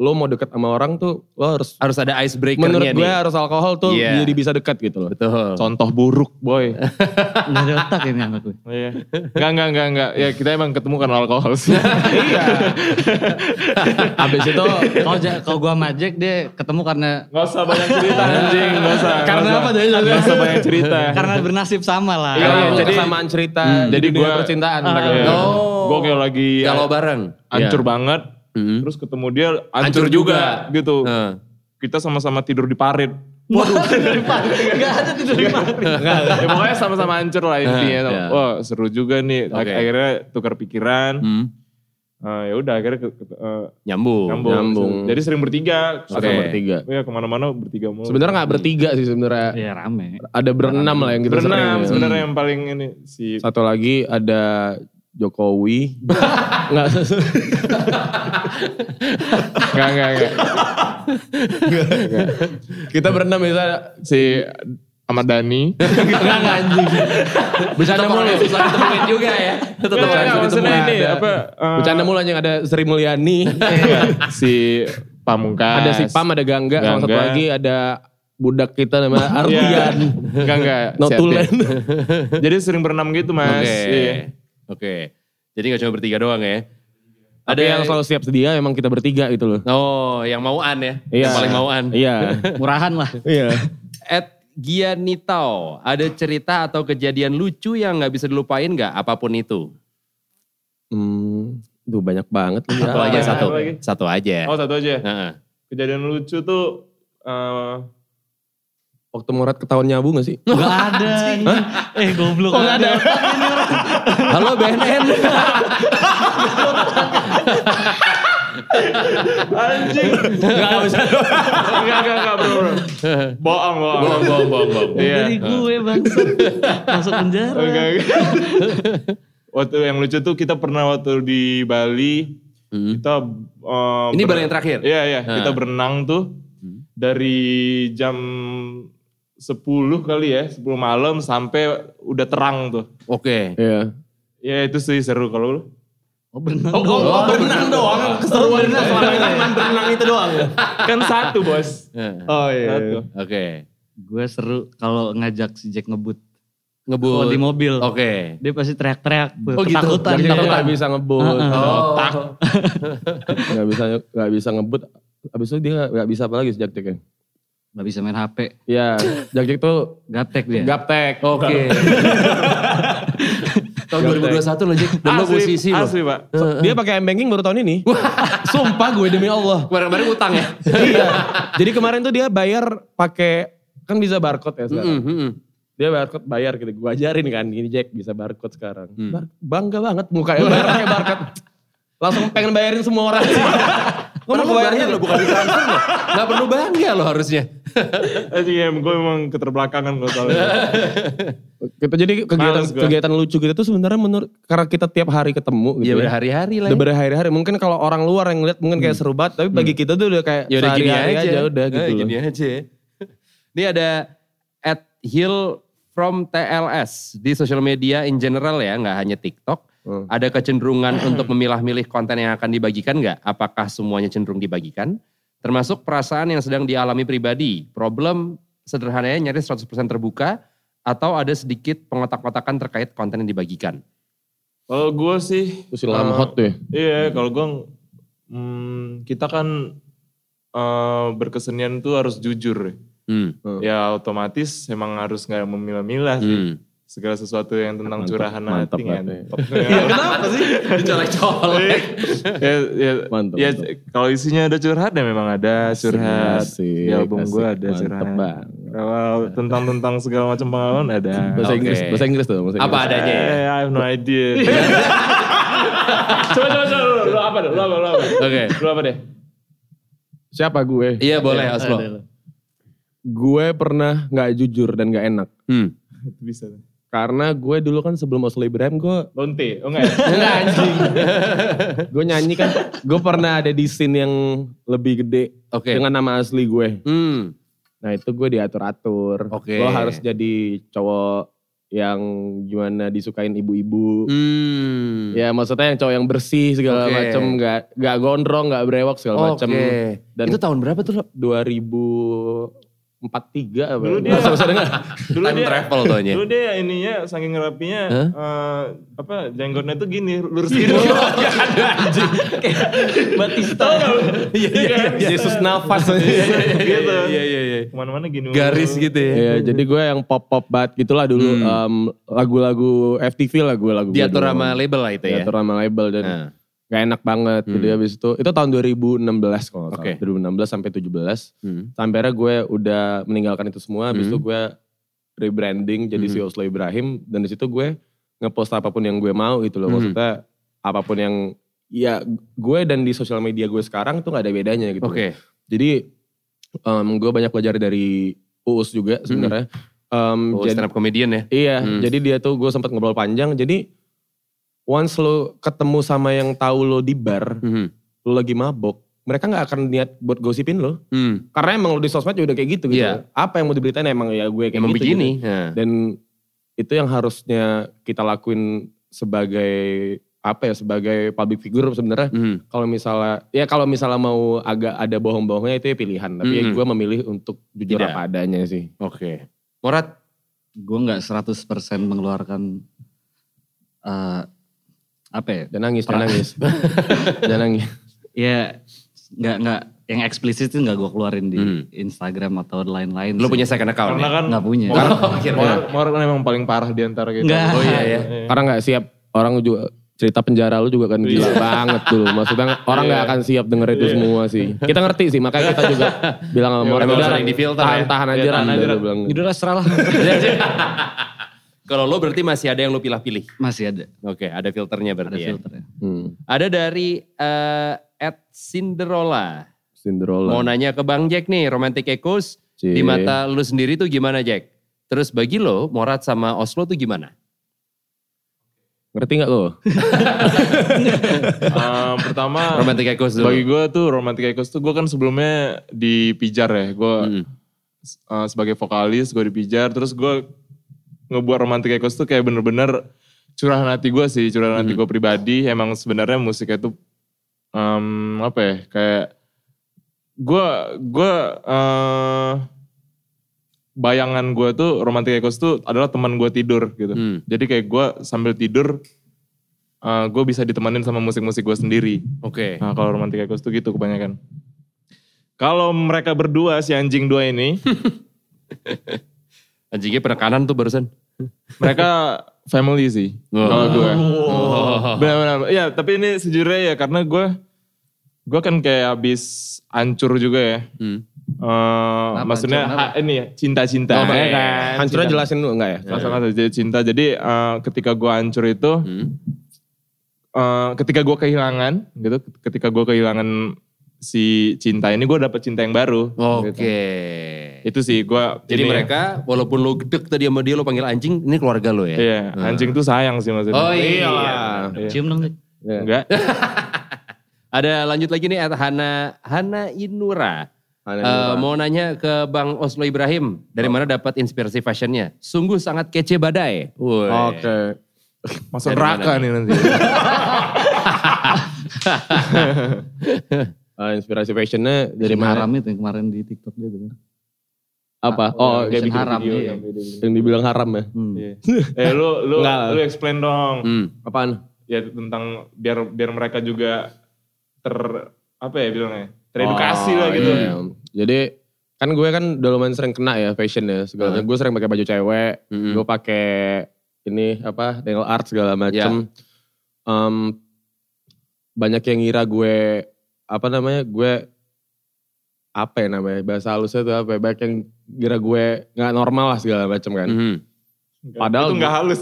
S1: lo mau deket sama orang tuh lo harus
S2: Harus ada
S1: menurut
S2: icebreaker-nya
S1: gue
S2: nih.
S1: harus alkohol tuh
S2: Iya.
S1: jadi bisa dekat gitu loh.
S2: Betul.
S4: Contoh buruk boy.
S3: Nggak ada otak ini anak gue.
S4: Iya. Enggak, enggak, enggak, enggak. Ya kita emang ketemu karena alkohol sih.
S1: Abis itu
S3: Kalau Ja- kalau gue sama Jack dia ketemu karena
S4: Gak usah banyak cerita anjing, gak usah. nggak
S3: Karena
S4: usah.
S3: apa, Jadi?
S4: Gak usah banyak cerita.
S3: karena bernasib sama lah.
S1: karena
S4: iya,
S1: lo
S4: jadi- Hmm.
S1: kesamaan cerita di
S4: jadi
S1: dunia
S4: gua-
S1: percintaan. Nah, mereka.
S4: Iya.
S2: Oh.
S4: Gue kayak lagi
S2: Kalau bareng.
S1: Iya.
S2: Iya. Hmm.
S4: hancur banget. Terus ketemu dia hancur
S2: Hancur
S4: juga.
S2: juga.
S4: gitu.
S2: Heeh.
S4: Kita sama-sama tidur di parit.
S3: Gak ada tidur di pabrik.
S4: ya pokoknya sama-sama hancur lah intinya.
S2: Iya.
S4: Wah seru juga nih.
S2: Oke.
S4: Akhirnya tukar pikiran.
S2: Hmm. Oh,
S4: Eh, ya udah akhirnya ke- ke- eh,
S2: Nyambung.
S4: nyambung.
S1: nyambung.
S4: Jadi sering bertiga.
S1: Oke. bertiga.
S4: Iya kemana-mana bertiga mulu.
S1: Sebenarnya nggak bertiga sih sebenarnya.
S3: Ya rame.
S1: Ada berenam lah yang kita sering. ya.
S4: Berenam
S2: Hmm.
S4: sebenarnya yang paling ini si
S1: Satu lagi ada Jokowi. Enggak.
S4: enggak enggak enggak.
S1: kita berenam ya, bisa
S4: si Ahmad Dhani.
S1: enggak enggak, anjing. Bercanda
S2: Tetap
S1: mulu.
S2: orangnya susah ditemuin juga ya. Tetap
S4: Enggak,
S2: orangnya
S4: enggak,
S2: susah
S4: maksudnya
S2: ditemuin.
S4: ini apa? eh, Nah,
S1: Bercanda mulu anjing ada Sri Mulyani,
S4: si Pamungkas.
S1: ada si Pam, ada Gangga, sama satu
S4: Gangga.
S1: lagi ada budak kita namanya
S4: Iya.
S1: Ardian.
S4: Enggak enggak. si
S1: Notulen.
S4: Ardian. Jadi sering berenam gitu mas.
S2: Oke.
S4: Iya.
S2: Oke. Jadi gak cuma bertiga doang ya.
S1: Ada yang selalu siap sedia emang kita bertiga gitu loh.
S2: Oh, yang mauan ya.
S1: Iya.
S2: Yang paling mauan.
S1: Iya.
S3: Murahan lah.
S1: Iya.
S2: At Gianitao, ada cerita atau kejadian lucu yang nggak bisa dilupain nggak? Apapun itu.
S1: Hmm, duh banyak banget. nih. ya.
S2: Satu
S4: Apa
S2: aja
S4: lagi?
S2: satu.
S4: Apa lagi?
S2: Satu aja.
S4: Oh satu aja.
S2: Heeh.
S4: Kejadian lucu tuh eh,
S1: Waktu Morat ketahuan nyabu gak sih?
S3: Gak ada. Eh goblok. Gak ada. otak ini orang.
S2: Halo BNN.
S4: anjing.
S2: Nggak bisa.
S4: Enggak enggak enggak bro. bro. Bohong bohong.
S2: Bohong, bohong, bohong, bohong.
S4: Iya.
S3: Dari gue bangsa. Masuk penjara.
S4: Enggak, enggak. waktu yang lucu tuh kita pernah waktu di Bali kita eh,
S2: Ini
S4: ber-
S2: Bali yang terakhir?
S4: Hmm.
S2: Hmm.
S4: Iya iya
S2: Nah.
S4: kita berenang tuh dari jam 10 kali ya 10 malam sampai udah terang tuh
S2: Oke.
S1: Iya.
S4: ya itu sih seru kalau lu
S3: Oh berenang doang.
S1: berenang doang.
S3: Keseruan berenang selama ini.
S1: berenang itu doang.
S4: kan satu bos
S2: Heeh.
S1: Oh
S4: satu
S2: Oke.
S3: Gue seru kalau ngajak si Jack ngebut. Kalau
S2: Ngebut.
S3: di
S2: Oke.
S3: mobil. Dia pasti teriak-teriak.
S2: Oh, gitu.
S3: Ketakutan.
S1: Yang
S2: Iya,
S1: kita
S2: iya.
S1: gak bisa ngebut.
S2: Oh.
S1: Gak bisa, gak bisa ngebut. Abis itu dia gak, nggak bisa apa lagi sejak itu kan.
S3: nggak bisa main HP,
S1: Iya, Jack Jack tuh
S3: gaptek
S2: Iya.
S3: dia.
S1: gaptek.
S2: Oke. Tahun 2021 loh Jack. Dan lo musisi loh.
S4: Asli pak.
S1: Dia pakai M-Banking baru tahun ini. Sumpah gue demi Allah.
S2: Kemarin-kemarin utang ya.
S1: iya. Jadi kemarin tuh dia bayar pakai kan bisa barcode ya sekarang.
S2: Mm, mm, mm.
S1: Dia barcode bayar gitu. Gue ajarin kan, gini Jack bisa barcode sekarang.
S2: Hmm.
S1: Bar- bangga banget mukanya bayar pakai barcode. Langsung pengen bayarin semua orang. Gue mau
S2: Padahal
S1: kebayarin
S2: lo bukan di transfer loh. Gak perlu bangga lo harusnya.
S4: Asli ya, gue memang keterbelakangan kalau soal itu.
S1: Gitu, jadi kegiatan
S4: Males gua.
S1: kegiatan lucu gitu tuh sebenarnya menurut karena kita tiap hari ketemu
S2: Ya
S1: gitu.
S2: udah hari-hari lah
S1: Udah
S2: ya.
S1: berhari-hari. Mungkin kalau orang luar yang ngeliat mungkin kayak seru banget, tapi bagi kita tuh udah kayak
S2: Hmm. Ya udah gini
S1: sehari-hari
S2: aja.
S1: udah
S2: Ah,
S1: gitu.
S2: Gini
S1: loh.
S2: aja ya. Ini ada at Hill from TLS di sosial media in general ya, nggak hanya TikTok.
S1: Hmm.
S2: Ada kecenderungan untuk memilah-milih konten yang akan dibagikan nggak? Apakah semuanya cenderung dibagikan? Termasuk perasaan yang sedang dialami pribadi. Problem sederhananya nyaris 100% terbuka atau ada sedikit pengotak-kotakan terkait konten yang dibagikan.
S4: Kalau gue sih.
S1: Terus ilham
S4: eh,
S1: hot tuh ya.
S4: Iya, kalau gue hmm, kita kan eh, berkesenian tuh harus jujur. ya.
S2: Hmm.
S4: Ya otomatis emang harus nggak memilah-milah sih.
S2: Hmm.
S4: Segala sesuatu yang tentang
S1: Mantap,
S4: curahan
S1: mantap
S4: hati kan.
S1: banget
S4: Ya,
S2: Kenapa sih? Dicolek-colek.
S4: ya, ya,
S1: Mantap,
S2: Iya,
S4: ya,
S1: mantap.
S4: kalau isinya ada curhat ya memang ada curhat.
S1: Asik,
S4: Di album gue
S1: asik.
S4: ada
S1: Mantep
S4: curhat.
S1: banget.
S4: Kalau tentang-tentang segala macam pengalaman ada.
S1: Bahasa Inggris,
S2: Oke.
S1: bahasa Inggris tuh. Bahasa
S2: Apa
S1: Inggris.
S2: adanya ya?
S4: Eh, I have no idea. coba, coba, coba. Lu, lu apa deh? Lu apa, lu apa?
S2: Oke.
S4: Lu apa deh?
S1: Siapa gue?
S2: Iya boleh Oslo.
S1: Gue pernah nggak jujur dan nggak enak.
S2: Hmm.
S4: Bisa. deh.
S1: Karena gue dulu kan sebelum Oslo Ibrahim gue
S4: Lonte, oh enggak ya?
S1: enggak anjing. gue nyanyi kan, gue pernah ada di scene yang lebih gede
S2: Oke.
S1: dengan nama asli gue.
S2: Hmm.
S1: Nah itu gue diatur-atur.
S2: Oke.
S1: Gue harus jadi cowok yang gimana disukain ibu-ibu.
S2: Hmm.
S1: Ya maksudnya yang cowok yang bersih segala
S2: Oke.
S1: macem, nggak nggak gondrong, nggak brewok segala
S2: Oke.
S1: macem. Dan
S2: Itu tahun berapa tuh lo?
S1: 2043 apa?
S2: Iya,
S4: Dulu dia-
S1: Nggak usah- usah dengar.
S4: Dulu
S2: Time travel tuanya.
S4: Dulu dia ininya saking rapinya
S2: Hah? Iya.
S4: eh, apa jenggotnya tuh gini lurus gitu. gini.
S1: Batista. Iya, iya, iya. Yesus nafas.
S4: gitu.
S2: Iya iya iya.
S4: Kemana-mana gini.
S2: Garis gitu ya.
S1: Iya, jadi gue yang pop-pop banget gitulah dulu em, lagu-lagu FTV lah gue lagu
S2: Hmm. Diatur sama label lah itu ya.
S1: Diatur sama label dan
S2: Nah. Hmm.
S1: gak enak banget. Jadi habis itu itu tahun 2016 kalau nggak
S2: Oke.
S1: salah. 2016 sampai 17.
S2: Hmm.
S1: Sampai akhirnya gue udah meninggalkan itu semua. Habis itu gue rebranding jadi
S2: Hmm.
S1: si Oslo Ibrahim. Dan di situ gue ngepost apapun yang gue mau gitu
S2: Hmm.
S1: loh. Maksudnya apapun yang ya gue dan di sosial media gue sekarang tuh gak ada bedanya gitu.
S2: Oke.
S1: Jadi em, gue banyak belajar dari Uus juga sebenarnya. Em,
S2: Oh,
S1: jadi-
S2: Hmm. stand up comedian ya.
S1: Iya,
S2: Hmm.
S1: jadi dia tuh gue sempat ngobrol panjang. Jadi once lo ketemu sama yang tahu lo di bar,
S2: Hmm.
S1: lo lagi mabok, mereka nggak akan niat buat gosipin lo.
S2: Hmm.
S1: Karena emang lo di sosmed ya udah kayak gitu gitu.
S2: Iya.
S1: Apa yang mau diberitain emang ya gue kayak
S2: Emang
S1: gitu.
S2: begini.
S1: gitu.
S2: Nah.
S1: Dan itu yang harusnya kita lakuin sebagai apa ya sebagai public figure sebenarnya
S2: Hmm.
S1: kalau misalnya ya kalau misalnya mau agak ada bohong-bohongnya itu ya pilihan tapi ya
S2: Mhm.
S1: gue memilih untuk jujur
S2: Tidak.
S1: apa adanya sih
S2: Oke. Morat.
S3: Gue nggak 100% mengeluarkan eh apa ya?
S1: jangan nangis jangan nangis jangan nangis
S3: Ya nggak nggak yang eksplisit itu nggak gue keluarin di
S2: Hmm.
S3: Instagram atau lain-lain.
S2: Lo
S3: sih.
S2: punya second account
S4: Karena
S2: ya?
S4: kan
S3: nggak punya?
S4: Morat,
S2: kira-kira.
S4: Morat- Morat kan emang paling parah di antara kita.
S3: Nggak.
S2: Oh iya ya.
S1: Karena nggak siap orang juga cerita penjara lu juga kan gila banget dulu. Maksudnya orang nggak akan siap denger itu semua sih. Kita ngerti sih, makanya kita juga bilang sama orang
S2: Emang
S1: "Udah,
S2: sering difilter
S1: tahan,
S2: ya?"
S1: tahan aja
S4: Iya, tahan
S1: Ran."
S4: aja,
S1: Dia
S4: Ran.
S1: bilang.
S3: Judulnya serah lah.
S2: Kalau lo berarti masih ada yang lo pilah-pilih.
S3: Masih ada,
S2: Oke, ada filternya
S3: ada
S2: berarti ya.
S3: filternya.
S1: Hmm,
S2: Ada dari eh, at Cinderella.
S1: Cinderella.
S2: Mau nanya ke Bang Jack nih, romantic echoes
S1: Cie.
S2: di mata lu sendiri tuh gimana Jack? Terus bagi lo, Morat sama Oslo tuh gimana?
S1: Ngerti nggak lo?
S4: Eh, pertama
S2: Romantic echoes dulu.
S4: bagi gue tuh romantic echoes tuh gue kan sebelumnya di Pijar ya.
S2: Mm.
S4: Gue eh, sebagai vokalis gue di Pijar terus gue ngebuat romantic echoes tuh kayak bener-bener curahan hati gue sih, curahan hati gue pribadi. Emang sebenarnya musiknya tuh em, apa ya kayak gue gue eh, bayangan gue tuh romantic echoes tuh adalah teman gue tidur gitu.
S2: Hmm.
S4: Jadi kayak gue sambil tidur eh, gue bisa ditemenin sama musik-musik gue sendiri.
S2: Oke.
S4: Nah kalau romantic echoes tuh gitu kebanyakan. Kalau mereka berdua si anjing dua ini,
S2: Anjingnya penekanan tuh barusan.
S4: mereka family sih. Kalau gue. Benar-benar. Iya, tapi ini sejujurnya ya karena gue gue kan kayak habis hancur juga ya.
S2: Hmm.
S4: Eh, maksudnya
S3: hancur
S4: ha- ini ya cinta-cinta.
S1: Iya,
S2: Oh,
S4: ya
S2: makanya.
S4: kan?
S1: Hancurnya
S4: Cinta.
S1: jelasin dulu enggak ya?
S4: Langsung aja jadi cinta. Jadi eh, ketika gue hancur itu,
S2: hmm.
S4: eh, ketika gue kehilangan gitu, ketika gue kehilangan si cinta ini gue dapet cinta yang baru.
S2: Oke.
S4: gitu. Itu sih ya. gue.
S2: Jadi mereka walaupun lo gedek tadi sama dia lo panggil anjing, ini keluarga lo ya.
S4: Iya, anjing tuh sayang sih maksudnya.
S2: Oh iya.
S4: Iya.
S3: Cium dong. Dik.
S1: Iya.
S4: Enggak.
S2: Ada lanjut lagi nih at Hana Hana Inura.
S1: Aneh
S2: Eh,
S1: banget.
S2: mau nanya ke Bang Oslo Ibrahim, dari mana dapat inspirasi fashionnya? Sungguh sangat kece badai. Woi.
S1: Oke.
S4: Masuk
S2: Dari
S4: neraka
S2: mana
S4: nih nanti.
S1: Eh, inspirasi fashionnya dari
S3: Yang
S1: mana?
S3: Haram itu yang kemarin di TikTok dia tuh.
S1: Apa? Oh, dia
S3: Fashion
S1: bikin
S3: haram.
S1: video
S3: iya.
S1: yang dibilang haram ya?
S3: Hmm.
S4: Iya. eh lu lu
S1: Enggak.
S4: lu explain dong.
S2: Hmm.
S1: Apaan?
S4: Ya tentang biar biar mereka juga ter apa ya bilangnya? Teredukasi lah
S1: Oh,
S4: gitu.
S1: iya. Jadi kan gue kan udah lumayan sering kena ya fashion ya segala macam. Gue sering pakai baju cewek,
S4: Hmm.
S2: Mm-mm.
S1: gue pakai ini apa nail art segala macam.
S4: Iya.
S1: Em, banyak yang ngira gue apa namanya gue apa ya namanya bahasa halusnya itu apa ya, banyak yang ngira gue nggak normal lah segala macam
S4: Hmm.
S1: kan.
S2: Mhm.
S1: Padahal
S4: itu enggak halus.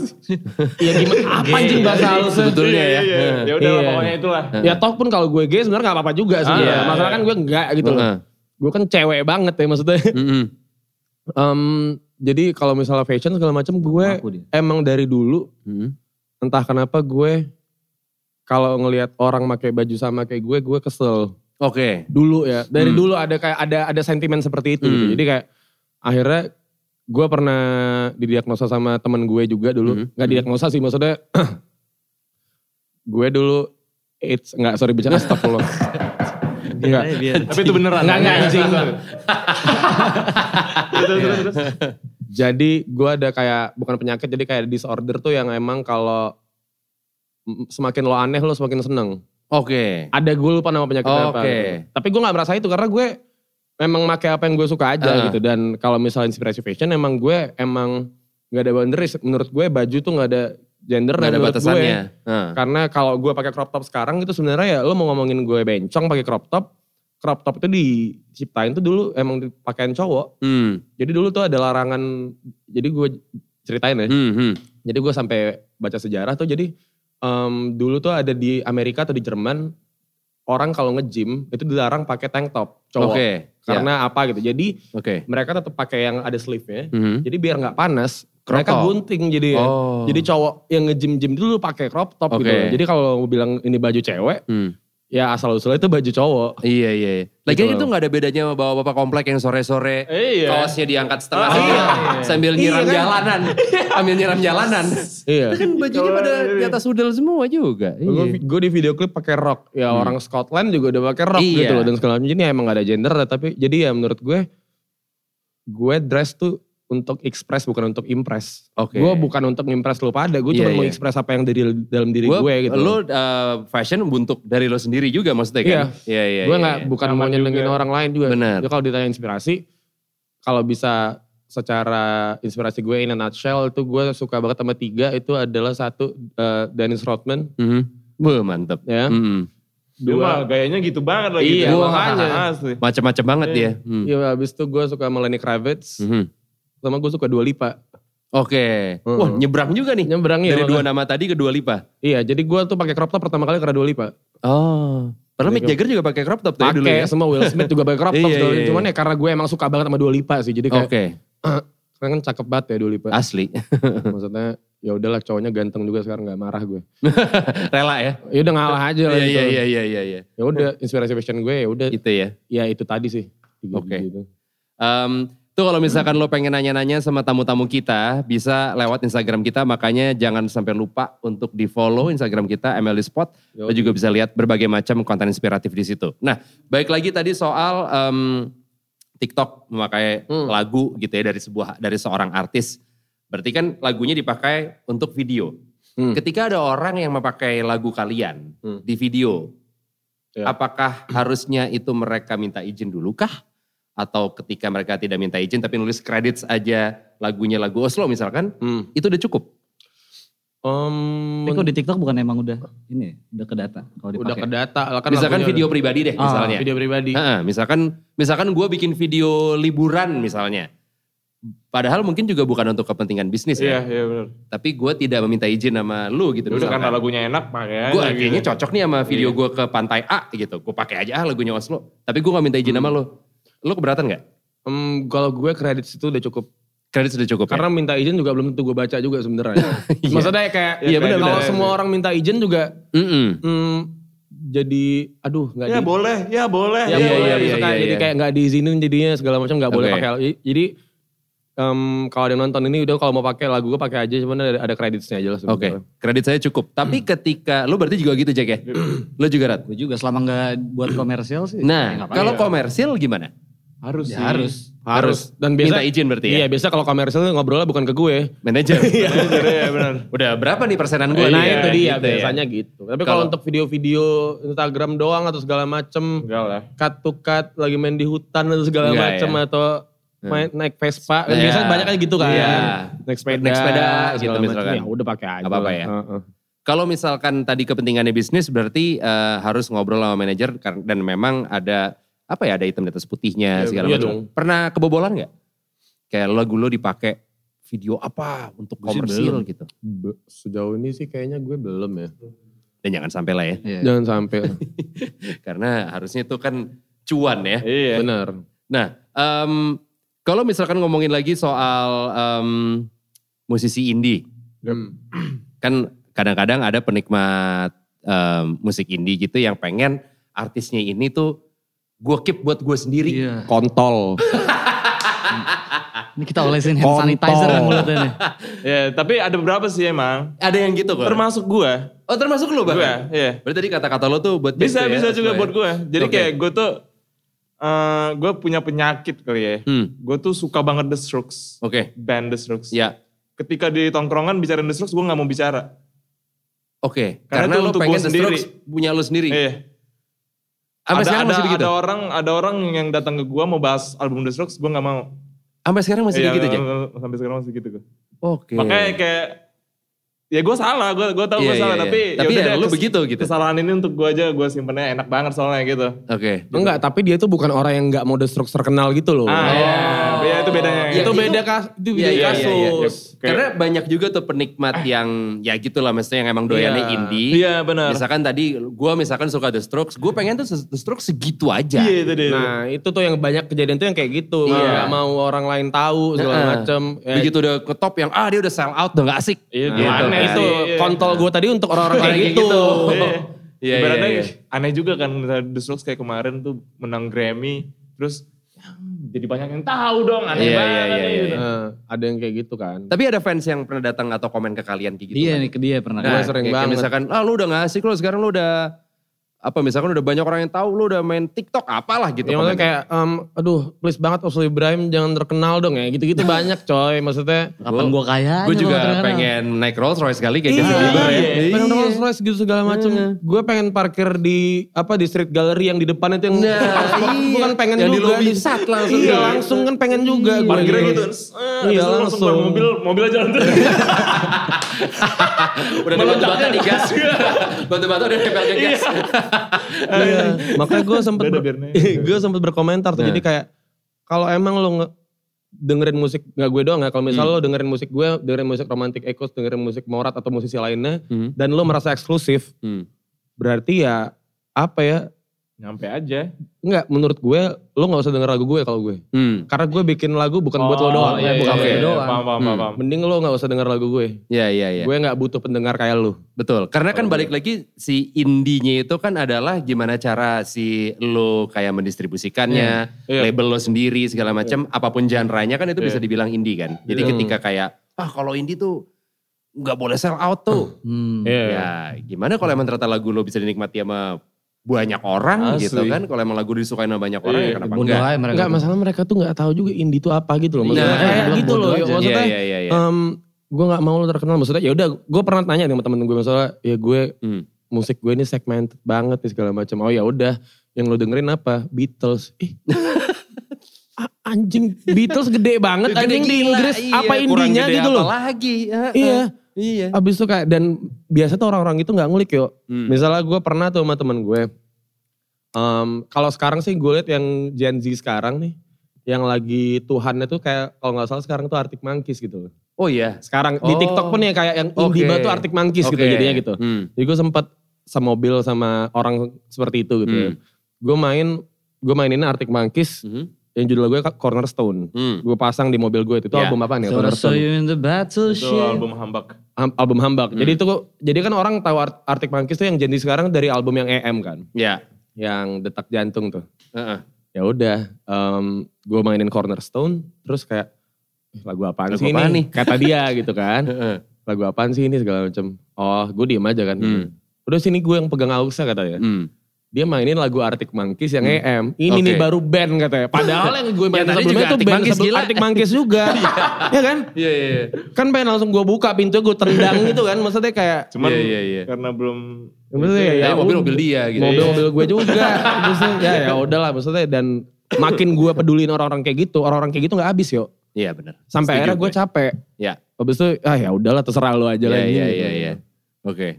S1: Iya gimana? Apa anjing bahasa halusnya?
S2: Sebetulnya
S4: Iya,
S2: ya.
S4: iya, iya. Ya udah lah, pokoknya itulah.
S1: Ya toh pun kalau gue gay sebenarnya nggak apa-apa juga sih.
S4: Ah, iya,
S1: Masalah
S4: iya.
S1: kan gue enggak gitu loh.
S2: Heeh.
S1: Gue kan cewek banget ya maksudnya.
S2: Mhm.
S1: Em, jadi kalau misalnya fashion segala macam gue
S3: Aku dia.
S1: emang dari dulu
S2: Mhm.
S1: entah kenapa gue kalau ngelihat orang pakai baju sama kayak gue gue kesel
S2: Oke.
S1: dulu ya dari
S2: Hmm.
S1: dulu ada kayak ada ada sentimen seperti itu gitu.
S2: Hmm.
S1: jadi kayak akhirnya gue pernah didiagnosa sama temen gue juga dulu
S2: Hmm.
S1: nggak didiagnosa sih maksudnya gue dulu AIDS nggak sorry bicara astagfirullah
S2: ya.
S3: Biar
S1: enggak
S3: aja, biar.
S4: Tapi itu beneran.
S1: Enggak, enggak, anjing.
S4: Iya, Terus, terus, terus.
S1: Jadi gue ada kayak bukan penyakit jadi kayak disorder tuh yang emang kalau mm, semakin lo aneh lo semakin seneng.
S2: Oke.
S1: Ada gue lupa nama penyakitnya apa.
S2: Oke.
S1: gitu. Tapi gue nggak merasa itu karena gue memang pakai apa yang gue suka aja
S2: Ah.
S1: gitu. Dan kalau misalnya inspirasi fashion emang gue emang nggak ada boundaries. Menurut gue baju tuh nggak ada gender
S2: Nggak
S1: dan
S2: ada
S1: menurut
S2: batasannya.
S1: gue.
S2: Heeh.
S1: Karena kalau gue pakai crop top sekarang itu sebenarnya ya lo mau ngomongin gue bencong pakai crop top. Crop top itu diciptain tuh dulu emang dipakein cowok.
S2: Hmm.
S1: Jadi dulu tuh ada larangan, jadi gue ceritain ya.
S2: Hmm, hmm.
S1: Jadi gue sampai baca sejarah tuh jadi em, dulu tuh ada di Amerika atau di Jerman orang kalau nge-gym itu dilarang pakai tank top cowok.
S2: Oke. Ya,
S1: Karena apa gitu. Jadi
S2: Oke.
S1: mereka tetap pakai yang ada sleeve-nya.
S2: Mhm.
S1: Jadi biar nggak panas,
S2: Crop
S1: mereka
S2: top.
S1: gunting jadi
S2: Oh.
S1: Jadi cowok yang nge-gym-gym dulu pakai crop top
S2: Oke.
S1: gitu. loh. Jadi kalau mau bilang ini baju cewek,
S2: Hmm.
S1: ya asal usulnya itu baju cowok.
S2: Iya iya. iya. Lagian
S1: Gitu
S2: itu nggak ada bedanya sama bapak-bapak komplek yang sore-sore
S4: Iya.
S2: kaosnya diangkat setengah
S4: Oh, iya.
S2: sambil
S1: Iya
S2: nyiram
S1: kan?
S2: jalanan, sambil nyiram jalanan.
S1: Iya.
S2: kan bajunya pada
S4: Iya.
S2: di atas udel semua juga. Iya. Hmm.
S1: Gue di video klip pakai rok. Ya orang Scotland juga udah pakai rok
S2: Iya.
S1: gitu loh dan segala macam. Jadi emang gak ada gender tapi jadi ya menurut gue gue dress tuh untuk express bukan untuk impress.
S2: Oke.
S1: Gue bukan untuk impress lu pada, gue
S2: Iya,
S1: cuma mau
S2: iya.
S1: express apa yang dari dalam diri gue,
S2: Gua-
S1: gitu.
S2: Lo uh, fashion untuk dari lo sendiri juga maksudnya kan?
S1: Iya.
S2: Iya iya.
S1: gue
S2: iya,
S1: nggak
S2: iya.
S1: bukan
S4: Nyaman
S1: mau nyenengin
S4: juga.
S1: orang lain juga.
S2: Benar.
S1: Jadi kalau ditanya inspirasi, kalau bisa secara inspirasi gue in a nutshell itu gue suka banget sama tiga itu adalah satu eh, Dennis Rodman
S2: Mhm. Wah mantep.
S1: ya.
S2: Mhm.
S4: Dia mah gayanya gitu banget lagi.
S1: Iya,
S4: Wah,
S2: makanya.
S4: Asli.
S2: Macam-macam banget
S4: Iya.
S2: dia. Hmm.
S1: Iya, habis itu gue suka sama Lenny Kravitz,
S2: Mhm.
S1: sama gue suka Dua Lipa.
S2: Oke.
S1: Mhm.
S2: Wah Hmm. nyebrang juga nih.
S1: Nyebrang ya.
S2: Dari dua
S1: makanya.
S2: nama tadi ke dua lipa.
S1: Iya, jadi gue tuh pakai crop top pertama kali karena Dua Lipa.
S2: Oh. Padahal Mick Jagger juga pakai crop top tuh ya dulu
S1: Pakai
S2: ya.
S1: semua Will Smith juga pakai crop top.
S2: Iya,
S1: segala macam.
S2: iya, iya.
S1: Cuman ya karena gue emang suka banget sama Dua Lipa sih. Jadi
S2: Oke.
S1: kayak karena kan cakep banget ya Dua Lipa.
S2: Asli.
S1: Maksudnya ya udahlah cowoknya ganteng juga sekarang nggak marah gue.
S2: Rela ya.
S1: Ya udah ngalah aja lah.
S2: Iya
S1: gitu.
S2: iya iya iya iya. iya.
S1: Ya udah inspirasi fashion gue ya udah
S2: Itu ya.
S1: ya itu tadi sih. Tiga
S2: Oke.
S1: gitu.
S2: Em, tuh kalau misalkan lo pengen nanya-nanya sama tamu-tamu kita, bisa lewat Instagram kita, makanya jangan sampai lupa untuk di follow Instagram kita MLD Spot.
S1: Ya
S2: Lo juga bisa lihat berbagai macam konten inspiratif di situ. Nah, baik lagi tadi soal em, TikTok memakai
S1: Hmm.
S2: lagu gitu ya dari sebuah dari seorang artis. Berarti kan lagunya dipakai untuk video.
S1: Hmm.
S2: Ketika ada orang yang memakai lagu kalian
S1: Hmm.
S2: di video,
S1: Ya.
S2: Apakah harusnya itu mereka minta izin dulu kah? Atau ketika mereka tidak minta izin tapi nulis credits aja lagunya lagu Oslo misalkan,
S1: Hmm.
S2: itu udah cukup.
S1: Em,
S3: Tapi kalau di TikTok bukan emang udah ini, ya? udah ke data kalau dipakai.
S1: udah ke data lah kan
S2: misalkan
S1: lagunya
S2: video pribadi deh
S3: Ah,
S1: udah-
S2: misalnya.
S1: video pribadi.
S2: Heeh, misalkan misalkan gue bikin video liburan misalnya. Padahal mungkin juga bukan untuk kepentingan bisnis
S4: Iya,
S2: ya.
S4: iya benar.
S2: Tapi gue tidak meminta izin sama lu gitu.
S4: Ya udah karena
S2: misalkan.
S4: lagunya enak makanya.
S2: gue
S4: gitu.
S2: kayaknya cocok nih sama video
S4: Iya.
S2: gue ke pantai A gitu. Gue pakai aja ah lagunya Oslo. Tapi gue gak minta izin sama lo. Lo keberatan gak?
S1: Em, kalau gue kredit itu udah cukup.
S2: Kredit sudah cukup ya?
S1: Karena minta izin juga belum tentu gue baca juga sebenarnya.
S2: Iya.
S1: Maksudnya kayak
S2: Iya, benar,
S1: kalau
S2: benar.
S1: semua orang minta izin juga
S2: ya? Mm-mm.
S1: hmm, jadi aduh nggak
S4: Ya
S1: di-
S4: boleh, ya boleh.
S1: ya,
S2: Iya,
S1: boleh,
S2: iya,
S1: gitu
S2: iya,
S1: kan.
S2: iya,
S1: jadi
S2: iya.
S1: kayak nggak diizinin jadinya segala macam nggak boleh
S2: Oke.
S1: pakai jadi em, kalau ada yang nonton ini udah kalau mau pakai lagu gue pakai aja cuman ada, ada kreditnya aja lah
S2: Oke,
S1: sebenarnya.
S2: kredit saya cukup. Tapi ketika, lo berarti juga gitu Jack ya? Lo juga Rat?
S3: Gue juga selama nggak buat komersial sih. ya
S2: Nah,
S3: nggak apa-apa.
S2: kalau komersil gimana?
S4: Harus
S3: Ya
S4: sih.
S3: harus.
S1: harus dan biasa
S2: Minta izin berarti ya?
S1: iya biasa kalau komersial ngobrolnya bukan ke gue
S2: Manajer?
S4: Manajer, Iya benar.
S2: Udah berapa nih persenan gue?
S1: nah
S2: nih?
S1: itu dia
S2: Gitu ya.
S1: biasanya gitu tapi kalau
S2: Kalau-
S1: untuk video-video Instagram doang atau segala macem
S4: Enggak lah.
S1: cut to cut lagi main di hutan atau segala
S2: Enggak,
S1: macem
S2: ya.
S1: atau main, naik Vespa
S2: Iya.
S1: biasanya banyak kan gitu kan
S2: Iya.
S1: naik sepeda
S2: Naik sepeda,
S1: segala
S2: gitu
S1: macem.
S2: misalkan.
S1: ya udah pakai aja
S2: Nggak apa-apa
S1: lah.
S2: ya.
S1: Heeh.
S2: Kalau misalkan tadi kepentingannya bisnis berarti eh, harus ngobrol sama manajer kar- dan memang ada apa ya ada hitam di atas putihnya
S1: Iya,
S2: segala
S1: iya
S2: macam.
S1: dong.
S2: Pernah kebobolan nggak? Kayak lagu lo dipakai video apa untuk
S3: Gua sih
S2: komersil
S3: belum.
S2: gitu.
S1: Be- sejauh ini sih kayaknya gue belum ya
S2: Dan jangan sampai lah ya.
S3: Iya.
S1: Jangan sampai.
S2: Karena harusnya itu kan cuan ya.
S4: Iya.
S1: Benar.
S2: Nah, em, kalau misalkan ngomongin lagi soal em, musisi indie,
S1: Iya. Hmm.
S2: kan kadang-kadang ada penikmat em, musik indie gitu yang pengen artisnya ini tuh gue keep buat gue sendiri.
S3: Iya.
S1: Kontol.
S3: Ini kita olesin hand
S1: Kontol.
S3: sanitizer ke mulutnya nih.
S4: Ya, tapi ada beberapa sih emang.
S2: Ada yang gitu kok.
S4: Termasuk gua.
S2: oh termasuk lu
S4: Gua,
S2: bahkan?
S4: iya.
S2: Berarti tadi kata-kata lo tuh buat
S4: Bisa,
S2: Jack ya,
S4: bisa
S2: Oslo
S4: juga
S2: ya?
S4: buat gue. Jadi
S2: Oke.
S4: kayak gue tuh, eh gue punya penyakit kali ya.
S2: Hmm,
S4: Gue tuh suka banget The Strokes.
S2: oke.
S4: Band The Strokes.
S2: Ya,
S4: Ketika di tongkrongan bicara The Strokes, gue gak mau bicara.
S2: oke.
S4: Karena
S2: Karena,
S4: itu
S2: lo
S4: untuk
S2: pengen
S4: gua
S2: The
S4: sendiri.
S2: Strokes punya lo sendiri.
S4: Iya.
S2: Sampai
S4: Ada,
S2: sekarang
S4: ada,
S2: masih begitu?
S4: ada orang ada orang yang datang ke gue mau bahas album The Strokes, gue gak mau.
S2: Sampai sekarang masih
S4: Iya,
S2: begitu aja?
S4: Sampai sekarang masih gitu gue.
S2: Oke.
S4: Makanya kayak, ya gue salah, gue gue tau
S2: Iya,
S4: gue
S2: iya,
S4: salah.
S2: iya.
S4: Tapi,
S2: Tapi
S4: yaudah
S2: ya
S4: deh,
S2: lu
S4: kes-
S2: begitu gitu.
S4: Kesalahan ini untuk gue aja, gue simpennya enak banget soalnya gitu.
S2: Oke.
S1: Enggak, tapi dia tuh bukan orang yang nggak mau destruksi terkenal gitu loh.
S4: Ah, iya. Iya, itu bedanya.
S2: Oh. Iya,
S1: itu
S2: itu-
S1: beda kas, itu beda
S2: Iya, iya, iya, iya.
S1: kasus.
S4: Kayak-
S2: Karena banyak juga tuh penikmat yang ya gitulah maksudnya yang emang doyannya
S1: Iya.
S2: indie.
S4: Iya, benar.
S2: Misalkan tadi gue misalkan suka The Strokes, gue pengen tuh The Strokes segitu aja.
S4: Iya, itu dia.
S1: Nah, itu tuh yang banyak kejadian tuh yang kayak gitu.
S2: Iya.
S1: Nggak mau orang lain tahu segala
S2: Heeh.
S1: macem. Eh,
S2: Begitu udah ke top yang ah dia udah sell out udah gak asik.
S4: Iya,
S1: Nah,
S2: gitu
S1: aneh
S2: kan.
S1: itu
S4: Iya, iya.
S1: kontol gue tadi untuk orang-orang kayak gitu.
S4: Iya.
S2: Iya,
S4: Ibaratnya
S2: iya, iya.
S4: aneh juga kan misalnya The Strokes kayak kemarin tuh menang Grammy terus ya, jadi banyak yang tahu dong aneh
S2: Iya, iya,
S4: banget.
S2: iya, iya.
S4: gitu.
S1: Eh, ada yang kayak gitu kan.
S2: Tapi ada fans yang pernah datang atau komen ke kalian kayak gitu.
S3: Dia
S2: kan?
S3: nih Iya, ke dia pernah.
S1: Nah,
S3: Gua
S1: Gue sering
S2: kayak- kayak
S1: banget.
S2: Misalkan, ah lu udah gak asik lu sekarang lu udah apa misalkan udah banyak orang yang tahu lu udah main TikTok apalah gitu.
S1: Ya maksudnya
S2: komennya.
S1: kayak, em, aduh please banget Oslo Ibrahim jangan terkenal dong ya. Gitu-gitu banyak coy. Maksudnya
S3: Kapan gue kaya
S2: gue
S3: aja
S2: juga
S3: bakal terkenal.
S2: pengen naik Rolls Royce kali kayak gitu.
S1: Iya,
S2: ya. Iya.
S1: iya. Pengen Rolls Royce gitu segala macem. Gue pengen parkir di apa di street gallery yang di depan itu yang
S2: Nah, iya.
S1: bukan pengen
S2: Yang di
S1: juga
S2: lobby.
S1: sat langsung
S2: Iya.
S1: Iya, langsung kan pengen juga. gua
S4: Parkirnya
S1: gitu.
S4: gitu, eh,
S1: Iya,
S4: iya, langsung, keluar
S1: langsung.
S4: mobil, mobil aja jalan terus.
S2: Udah ada batu-bata di gas. Batu-bata udah nempel ke gas.
S1: Iya. Makanya gue sempet Iya,
S4: Udah ada
S1: ber-
S4: birnya.
S1: gue sempet berkomentar
S2: Nah.
S1: tuh jadi kayak kalau emang lo nge- dengerin musik nggak gue doang ya kalau
S2: Hmm.
S1: misalnya lo dengerin musik gue dengerin musik romantic echoes dengerin musik morat atau musisi lainnya
S2: Hmm.
S1: dan lo merasa eksklusif
S2: Hmm.
S1: berarti ya apa ya
S4: Nyampe aja.
S1: Enggak, menurut gue lo nggak usah denger lagu gue kalau gue
S2: Hmm.
S1: Karena gue bikin lagu bukan buat lo doang, ya,
S4: iya,
S1: bukan
S4: iya,
S1: buat
S4: iya,
S1: lo doang.
S4: Paham, paham,
S2: Hmm.
S4: paham.
S1: Mending lo nggak usah denger lagu gue.
S2: Iya, iya, iya.
S1: Gue nggak butuh pendengar kayak lo.
S2: Betul, karena kan balik lagi si indinya itu kan adalah gimana cara si lo kayak mendistribusikannya,
S4: Iya.
S2: label lo sendiri segala macam, apapun genre-nya kan itu bisa
S4: Iya.
S2: dibilang indie kan. Jadi
S1: Iya.
S2: ketika kayak ah kalau indie tuh nggak boleh sell out tuh.
S3: Hmm.
S1: Eh, Iya.
S2: Ya gimana kalau emang ternyata lagu lo bisa dinikmati sama banyak orang
S4: Asli.
S2: gitu kan. Kalau emang lagu disukain sama banyak orang
S4: Iya.
S2: ya kenapa
S3: Bodoh
S2: enggak.
S3: aja mereka.
S1: Enggak, masalah mereka tuh nggak tahu juga indie itu apa gitu loh. Maksudnya
S2: Nah,
S1: kayak
S3: belum
S1: gitu loh.
S3: bodoh
S1: ya.
S3: aja.
S1: Maksudnya,
S2: Iya, iya, iya.
S1: em, gue nggak mau lo terkenal. Maksudnya ya udah, gue pernah tanya sama temen gue masalah, ya gue
S2: Hmm.
S1: musik gue ini segmented banget nih segala macam. Oh ya udah, yang lo dengerin apa? Beatles. Ih. a- anjing Beatles gede banget anjing di Inggris
S2: iya,
S1: apa indinya gitu loh.
S2: lagi.
S1: Iya.
S2: Iya.
S1: Abis itu kayak dan biasa tuh orang-orang itu nggak ngulik yo.
S2: Hmm.
S1: Misalnya gue pernah tuh sama temen gue. em, kalau sekarang sih gue liat yang Gen Z sekarang nih. Yang lagi Tuhannya tuh kayak kalau nggak salah sekarang tuh Arctic Monkeys gitu.
S2: Oh iya.
S1: Sekarang di
S2: Oh.
S1: TikTok pun ya kayak yang indie
S2: Oke.
S1: banget tuh Arctic Monkeys gitu
S2: Oke.
S1: jadinya gitu.
S2: Hmm.
S1: Jadi gue sempet semobil sama orang seperti itu gitu ya.
S2: Hmm.
S1: Gue main, gue mainin Arctic Monkeys
S2: Mhm.
S1: yang judul gue Cornerstone.
S2: Hmm.
S1: Gue pasang di mobil gue itu, itu
S2: Ya.
S1: album apa nih?
S3: So, so
S1: Cornerstone.
S3: you in the Oh,
S4: Itu
S3: battleship.
S4: album Hambak.
S1: Ham- album Hambak.
S2: Hmm.
S1: Jadi itu jadi kan orang tahu Art- Arctic Monkeys tuh yang jadi sekarang dari album yang EM kan,
S2: Ya.
S1: yang detak jantung tuh.
S2: Heeh.
S1: Ya udah, em, gue mainin Cornerstone terus kayak "Eh, lagu apaan
S2: Lagu
S1: sih
S2: apaan
S1: ini?
S2: nih?
S1: Kata dia gitu kan.
S2: Heeh.
S1: Lagu apaan sih ini segala macam. Oh, gue diem aja kan.
S2: Hmm.
S1: Udah sini gue yang pegang Ausa katanya.
S2: Hmm.
S1: dia mainin lagu Arctic Monkeys yang EM. Ini
S2: Oke.
S1: nih baru band katanya. Padahal yang gue mainin
S2: Ya, tadi
S1: sebelumnya itu
S2: juga Arctic
S1: band
S2: Monkeys,
S1: sebelum
S2: gila.
S1: Arctic Monkeys juga. ya kan?
S2: Iya iya iya.
S1: Kan pengen langsung gue buka pintu gue tendang gitu kan. Maksudnya kayak
S4: Cuman
S2: Iya, iya, iya.
S4: karena belum
S1: maksudnya ya,
S2: Ya,
S1: ya
S2: mobil-mobil dia gitu.
S1: mobil-mobil gue juga. maksudnya ya ya udahlah maksudnya dan makin gue peduliin orang-orang kayak gitu, orang-orang kayak gitu nggak habis yo.
S2: Iya benar.
S1: Sampai akhirnya gue capek.
S2: Ya.
S1: Habis itu ah ya udahlah terserah lu aja
S2: Iya
S1: lah ini,
S2: iya
S1: gitu.
S2: iya iya. Oke.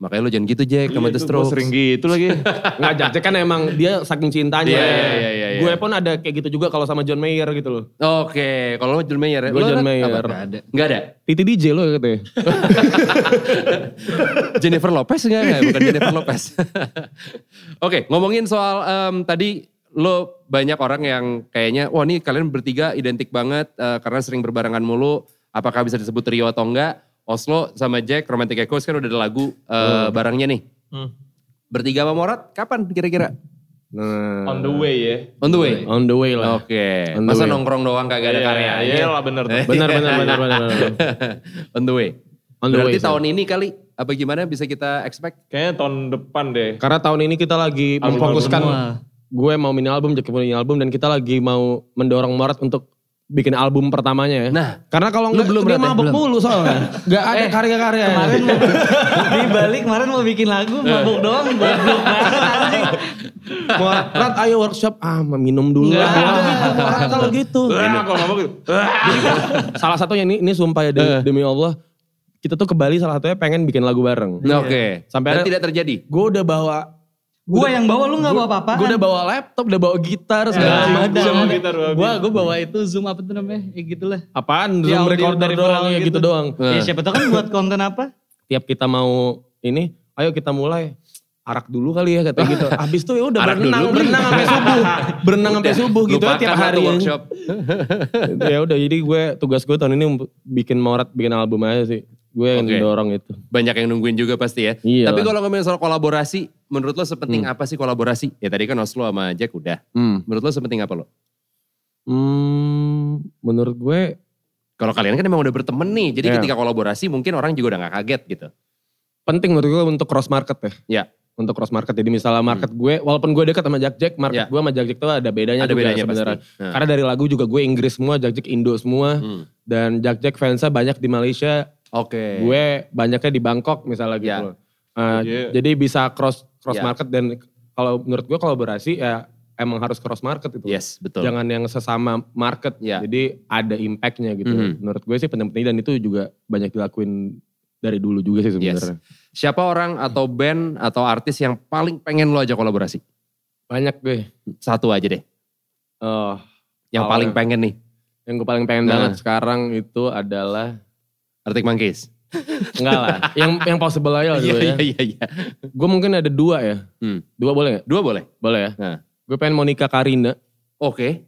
S2: Makanya lu jangan gitu Jack sama The
S4: Iya, itu gua
S2: Strokes.
S4: sering gitu lagi.
S1: Nggak Jack kan emang dia saking cintanya.
S2: Iya, iya, iya, iya, iya.
S1: Gue pun ada kayak gitu juga kalau sama John Mayer gitu loh.
S2: Oke, kalau lu John Mayer ya?
S1: Gua
S2: Lu
S1: John
S2: apa?
S1: Mayer.
S2: Nggak ada. Nggak ada?
S1: Titi DJ lo ya katanya.
S2: Jennifer Lopez enggak? enggak? Bukan Jennifer Lopez. Oke, ngomongin soal em, tadi lo banyak orang yang kayaknya, wah nih kalian bertiga identik banget eh, karena sering berbarengan mulu. Apakah bisa disebut trio atau enggak? Oslo sama Jack, Romantic Echoes kan udah ada lagu eh, barangnya nih. Bertiga sama Morat, kapan kira-kira?
S1: Nah.
S4: On the way ya.
S2: On the way?
S1: On the way lah.
S2: Oke,
S1: On the
S2: masa
S1: way.
S2: nongkrong doang kagak ada karya?
S4: Iya lah bener. tuh.
S1: Benar benar benar benar. benar.
S2: On the way.
S1: On the
S2: Berarti
S1: way,
S2: tahun ini kali, apa gimana bisa kita expect?
S4: Kayaknya tahun depan deh.
S1: Karena tahun ini kita lagi
S4: Album
S1: memfokuskan
S3: semua.
S1: gue mau mini album, Jack mau mini album dan kita lagi mau mendorong Morat untuk bikin album pertamanya ya.
S2: Nah.
S1: karena kalau
S2: Lu
S1: enggak
S2: belum
S1: dia
S2: berarti,
S1: mabuk
S2: belum.
S1: mulu Eh, soalnya. Enggak ada
S2: ya?
S1: karya-karya.
S3: Kemarin mau, Eh. Iya. di balik kemarin mau bikin lagu mabuk doang goblok banget anjing.
S1: Morat, Rat, ayo workshop. Ah, minum
S3: Iya,
S1: dulu lah. gitu, Morat kalau gitu.
S4: Wah, kalau mabuk gitu.
S1: Salah satunya ini ini sumpah ya
S2: Eh.
S1: demi, demi Allah. Kita tuh ke Bali salah satunya pengen bikin lagu bareng.
S2: Nah, Oke,
S1: Sampai ada-
S2: dan tidak terjadi.
S1: Gue udah bawa
S3: Gua yang bawa lu nggak bawa apa-apa.
S1: Gue udah bawa laptop, udah bawa gitar
S2: Ya.
S1: segala
S4: Anjing,
S1: macam.
S4: gua sama gitar, gua
S3: Gua gua bawa itu zoom apa tuh namanya? Ya gitulah.
S1: Apaan
S3: Ya,
S1: zoom
S3: audio
S1: recorder
S3: peripheral
S1: doang ya gitu.
S3: gitu.
S1: doang.
S3: Ya siapa tahu kan buat konten apa?
S1: Tiap kita mau ini, ayo kita mulai. Arak dulu kali ya kata gitu. Abis itu ya udah
S2: Arak
S1: berenang,
S2: dulu.
S1: berenang sampai subuh. Berenang sampai subuh gitu ya
S2: Lupakan
S1: tiap
S2: lah
S1: hari.
S2: tuh workshop.
S1: ya udah jadi gue tugas gue tahun ini untuk bikin morat, bikin album aja sih. Gue yang
S2: Oke.
S1: dorong itu.
S2: Banyak yang nungguin juga pasti ya.
S1: Iya Hmm.
S2: Tapi
S1: lah.
S2: kalau ngomongin soal kolaborasi, menurut lo sepenting apa sih kolaborasi? Ya tadi kan Oslo sama Jack udah.
S1: Hmm.
S2: Menurut lo sepenting apa lo?
S1: Hmm, menurut gue
S2: Kalau kalian kan emang udah berteman nih, jadi
S1: Iya.
S2: ketika kolaborasi mungkin orang juga udah gak kaget gitu.
S1: penting menurut gue untuk cross market ya.
S2: Ya. Hmm.
S1: Untuk cross market. Jadi misalnya market gue, walaupun gue dekat sama Jack Jack, market
S2: Ya.
S1: gue sama Jack Jack tuh ada bedanya Iya,
S2: Ada
S1: juga
S2: bedanya
S1: sebenarnya.
S2: pasti. Nah.
S1: Karena dari lagu juga gue Inggris semua, Jack Jack Indo semua.
S2: Hmm.
S1: Dan Jack Jack fansnya banyak di Malaysia,
S2: Oke.
S1: gue banyaknya di Bangkok misalnya gitu.
S2: Eh. Ya.
S1: loh. Uh,
S4: Iya.
S1: Jadi bisa cross cross
S2: Ya.
S1: market dan kalau menurut gue kolaborasi ya emang harus cross market itu.
S2: Yes, Iya, betul.
S1: Jangan yang sesama market.
S2: Ya.
S1: Jadi ada impactnya gitu.
S2: Mhm.
S1: Menurut gue sih penting-penting dan itu juga banyak dilakuin dari dulu juga sih
S2: Yes.
S1: sebenarnya.
S2: Siapa orang atau band atau artis yang paling pengen lo aja kolaborasi?
S1: Banyak gue.
S2: Satu aja deh.
S1: Oh,
S2: Yang
S1: Awalnya.
S2: paling pengen nih.
S1: yang gue paling pengen
S2: Nah.
S1: banget sekarang itu adalah
S2: Arctic Monkeys.
S1: enggak lah, yang yang possible aja lah dulu ya.
S2: Iya, iya, iya.
S1: Gue mungkin ada dua ya,
S2: Hmm.
S1: dua boleh nggak?
S2: Dua boleh?
S1: Boleh ya.
S2: Nah.
S1: Gue pengen Monica Karina
S2: Oke.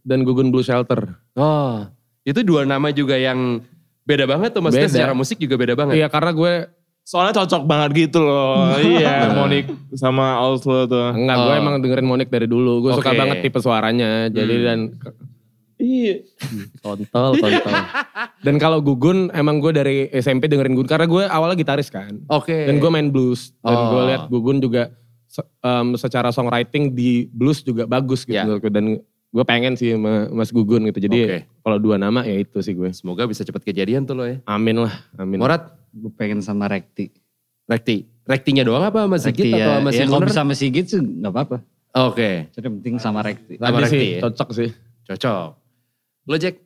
S1: dan Gugun Blue Shelter.
S2: Oh, itu dua nama juga yang beda banget tuh. Maksudnya
S1: Beda.
S2: secara musik juga beda banget.
S1: Iya karena gue
S4: Soalnya cocok banget gitu loh. iya, Monik sama Oslo tuh.
S1: enggak gue emang dengerin Monik dari dulu. Gue suka
S2: Oh. Oke. Hmm.
S1: banget tipe suaranya. Jadi dan iya kontol kontol. dan kalau Gugun emang gue dari SMP dengerin Gugun karena gue awalnya gitaris kan.
S2: Oke.
S1: Dan gue main blues. Dan
S2: Oh.
S1: gue lihat Gugun juga se- em, secara songwriting di blues juga bagus gitu
S2: Ya.
S1: menurut gue. Dan gue pengen sih sama Mas Gugun gitu. Jadi
S2: Oke.
S1: kalau dua nama ya itu sih gue.
S2: Semoga bisa cepat kejadian tuh lo ya.
S1: Amin lah, amin.
S2: Morat,
S3: Gue pengen sama Rekti.
S2: Rekti. Rektinya doang apa sama Sigit atau
S3: Rekti ya.
S2: sama
S3: ya kalau
S2: Singer?
S3: bisa sama Sigit sih gak apa-apa.
S2: Oke,
S3: Jadi yang penting sama Rekti.
S2: Sama
S1: Tadi sih
S2: Rekti ya?
S1: cocok sih.
S2: cocok. Lo Jack,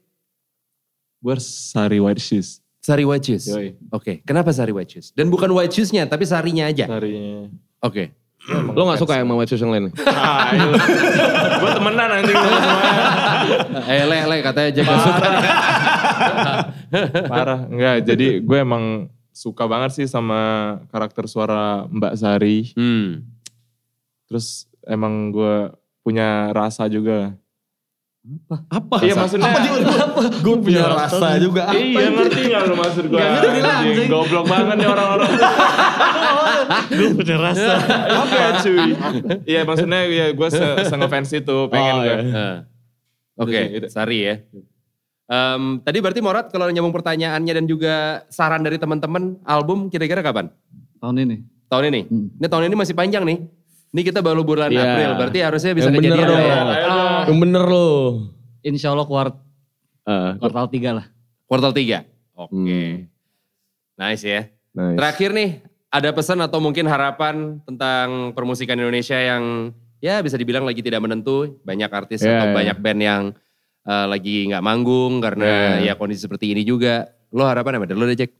S4: Gue sari white shoes.
S2: Sari White Shoes. Oke,
S4: Yoi,
S2: kenapa Sari White Shoes? Dan bukan White Shoes-nya, tapi Sarinya aja. Oke.
S4: sarinya.
S1: Lo gak suka yang sama white shoes yang lain?
S4: gue Ah, iya. temenan anjing sama semuanya.
S2: Eh, le, le, katanya Jack gak suka.
S4: Parah. Enggak, jadi gue emang suka banget sih sama karakter suara Mbak Sari.
S2: Hmm.
S4: Terus emang gue punya rasa juga.
S1: Apa?
S4: Iya maksudnya.
S1: Gue punya rasa juga.
S4: Iya ngerti gak lu maksud gue?
S3: Nggak ngerti lah,
S4: Anjing,
S3: anjing.
S4: Goblok banget nih orang-orang.
S3: Gue punya rasa.
S4: Apa ya cuy? Iya maksudnya ya gue se, se ngefans itu pengen gue.
S2: Eh. Oke,
S3: Gitu,
S4: Itu-
S2: Sari ya. Em, tadi berarti Morat kalau nyambung pertanyaannya dan juga saran dari teman-teman album kira-kira kapan?
S3: Tahun ini.
S2: Tahun ini?
S3: Hmm.
S2: Ini tahun ini masih panjang nih. Ini kita baru bulan
S1: Iya.
S2: April, berarti harusnya bisa
S1: Yang bener
S2: kejadian
S1: dong.
S2: ya.
S4: Ayo dong.
S1: Yang bener lo.
S3: Insya Allah kuart-
S1: Ah,
S3: kuartal 3 lah.
S2: Kuartal 3. Oke.
S1: hmm,
S2: Nice ya.
S1: nice.
S2: Terakhir nih, ada pesan atau mungkin harapan tentang permusikan Indonesia yang ya bisa dibilang lagi tidak menentu. Banyak artis
S1: Iya, iya.
S2: atau banyak band yang eh, lagi nggak manggung karena
S1: Iya,
S2: ya kondisi seperti ini juga. Lo harapan apa? Lo deh Jack.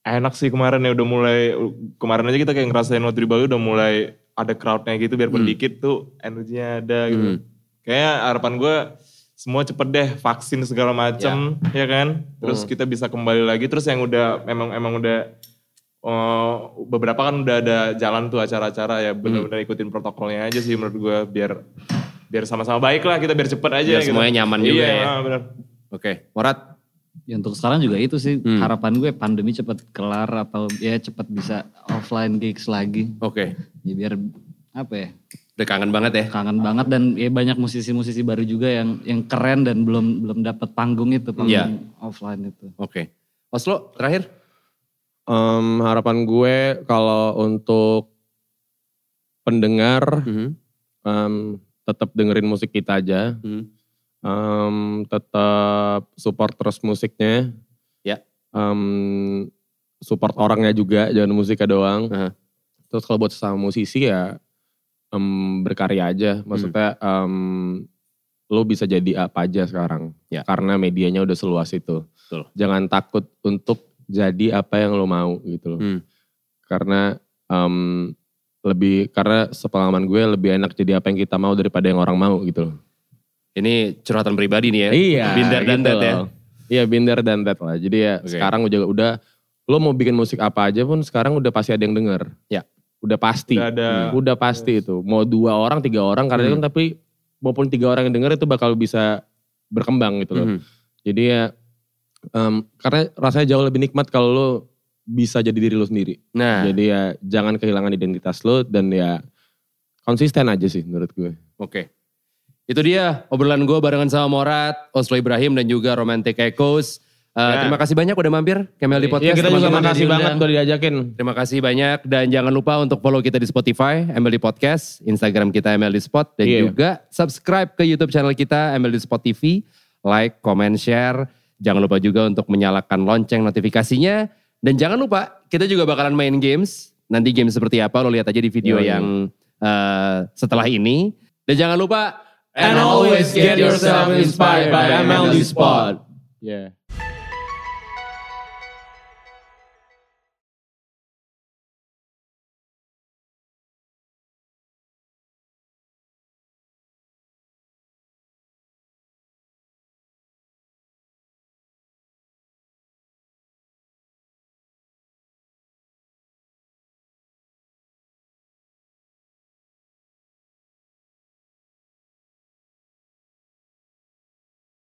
S4: Enak sih kemarin ya udah mulai kemarin aja kita kayak ngerasain waktu di Bali udah mulai ada crowdnya gitu biar
S2: Hmm.
S4: dikit tuh energinya ada gitu.
S2: Hmm.
S4: Kayaknya harapan gue semua cepet deh vaksin segala macem ya kan. Terus
S2: Hmm.
S4: kita bisa kembali lagi. Terus yang udah emang emang udah eh, beberapa kan udah ada jalan tuh
S2: Hmm.
S4: acara-acara ya benar-benar ikutin protokolnya aja sih menurut gue biar biar sama-sama baik lah kita biar cepet aja.
S2: Biar semuanya nyaman juga
S4: Iya,
S2: ya.
S4: ah, benar.
S2: Oke, Morat.
S3: Ya untuk sekarang juga itu sih
S2: Hmm.
S3: harapan gue pandemi cepet kelar atau ya cepet bisa offline gigs lagi.
S2: Oke,
S3: Ya biar apa ya
S2: udah kangen banget ya.
S3: kangen banget dan ya banyak musisi-musisi baru juga yang yang keren dan belum belum dapat panggung itu panggung
S2: Iya.
S3: offline itu.
S2: Oke. Oslo, terakhir.
S1: Em, harapan gue kalau untuk pendengar em, tetap dengerin musik kita aja.
S2: Hmm.
S1: Em, tetap support terus musiknya.
S2: Ya.
S1: Em, support orangnya juga, jangan musiknya doang.
S2: Aha.
S1: Terus kalau buat sesama musisi ya em, berkarya aja. Maksudnya em, lo bisa jadi apa aja sekarang.
S2: Hmm. Ya.
S1: Karena medianya udah seluas itu.
S2: Betul.
S1: Jangan takut untuk jadi apa yang lo mau gitu loh.
S2: Hmm.
S1: Karena em, lebih karena sepengalaman gue lebih enak jadi apa yang kita mau daripada yang orang mau gitu loh.
S2: Ini curhatan pribadi nih ya.
S1: Iya.
S2: Binder dan
S1: gitu
S2: that ya.
S1: loh. Iya binder dan that lah. Jadi ya
S2: Oke.
S1: sekarang udah, udah lo mau bikin musik apa aja pun sekarang udah pasti ada yang denger.
S2: Ya.
S1: Udah pasti. Hmm.
S4: Udah ada.
S1: Udah pasti itu. Mau dua orang, tiga orang karena
S2: Hmm.
S1: kan tapi maupun tiga orang yang denger itu bakal bisa berkembang gitu loh.
S2: Mhm.
S1: Jadi ya em, karena rasanya jauh lebih nikmat kalau lo bisa jadi diri lo sendiri.
S2: Nah,
S1: Jadi ya jangan kehilangan identitas lo dan ya konsisten aja sih menurut gue.
S2: Oke. Itu dia obrolan gue barengan sama Morat, Oslo Ibrahim dan juga Romantic Echoes. Eh,
S4: Ya.
S2: Terima kasih banyak udah mampir Kemel di
S1: Iya
S2: podcast.
S1: kita juga
S2: teman-teman.
S1: makasih banget udah diajakin.
S2: Terima kasih banyak dan jangan lupa untuk follow kita di Spotify, MLD Podcast, Instagram kita MLD Spot dan
S1: Iya.
S2: juga subscribe ke YouTube channel kita MLD Spot TV, like, comment, share. Jangan lupa juga untuk menyalakan lonceng notifikasinya dan jangan lupa kita juga bakalan main games. Nanti game seperti apa lo lihat aja di video
S1: Yoi.
S2: yang eh, setelah ini. Dan jangan lupa
S1: And always get yourself inspired by MLD Spot. Yeah.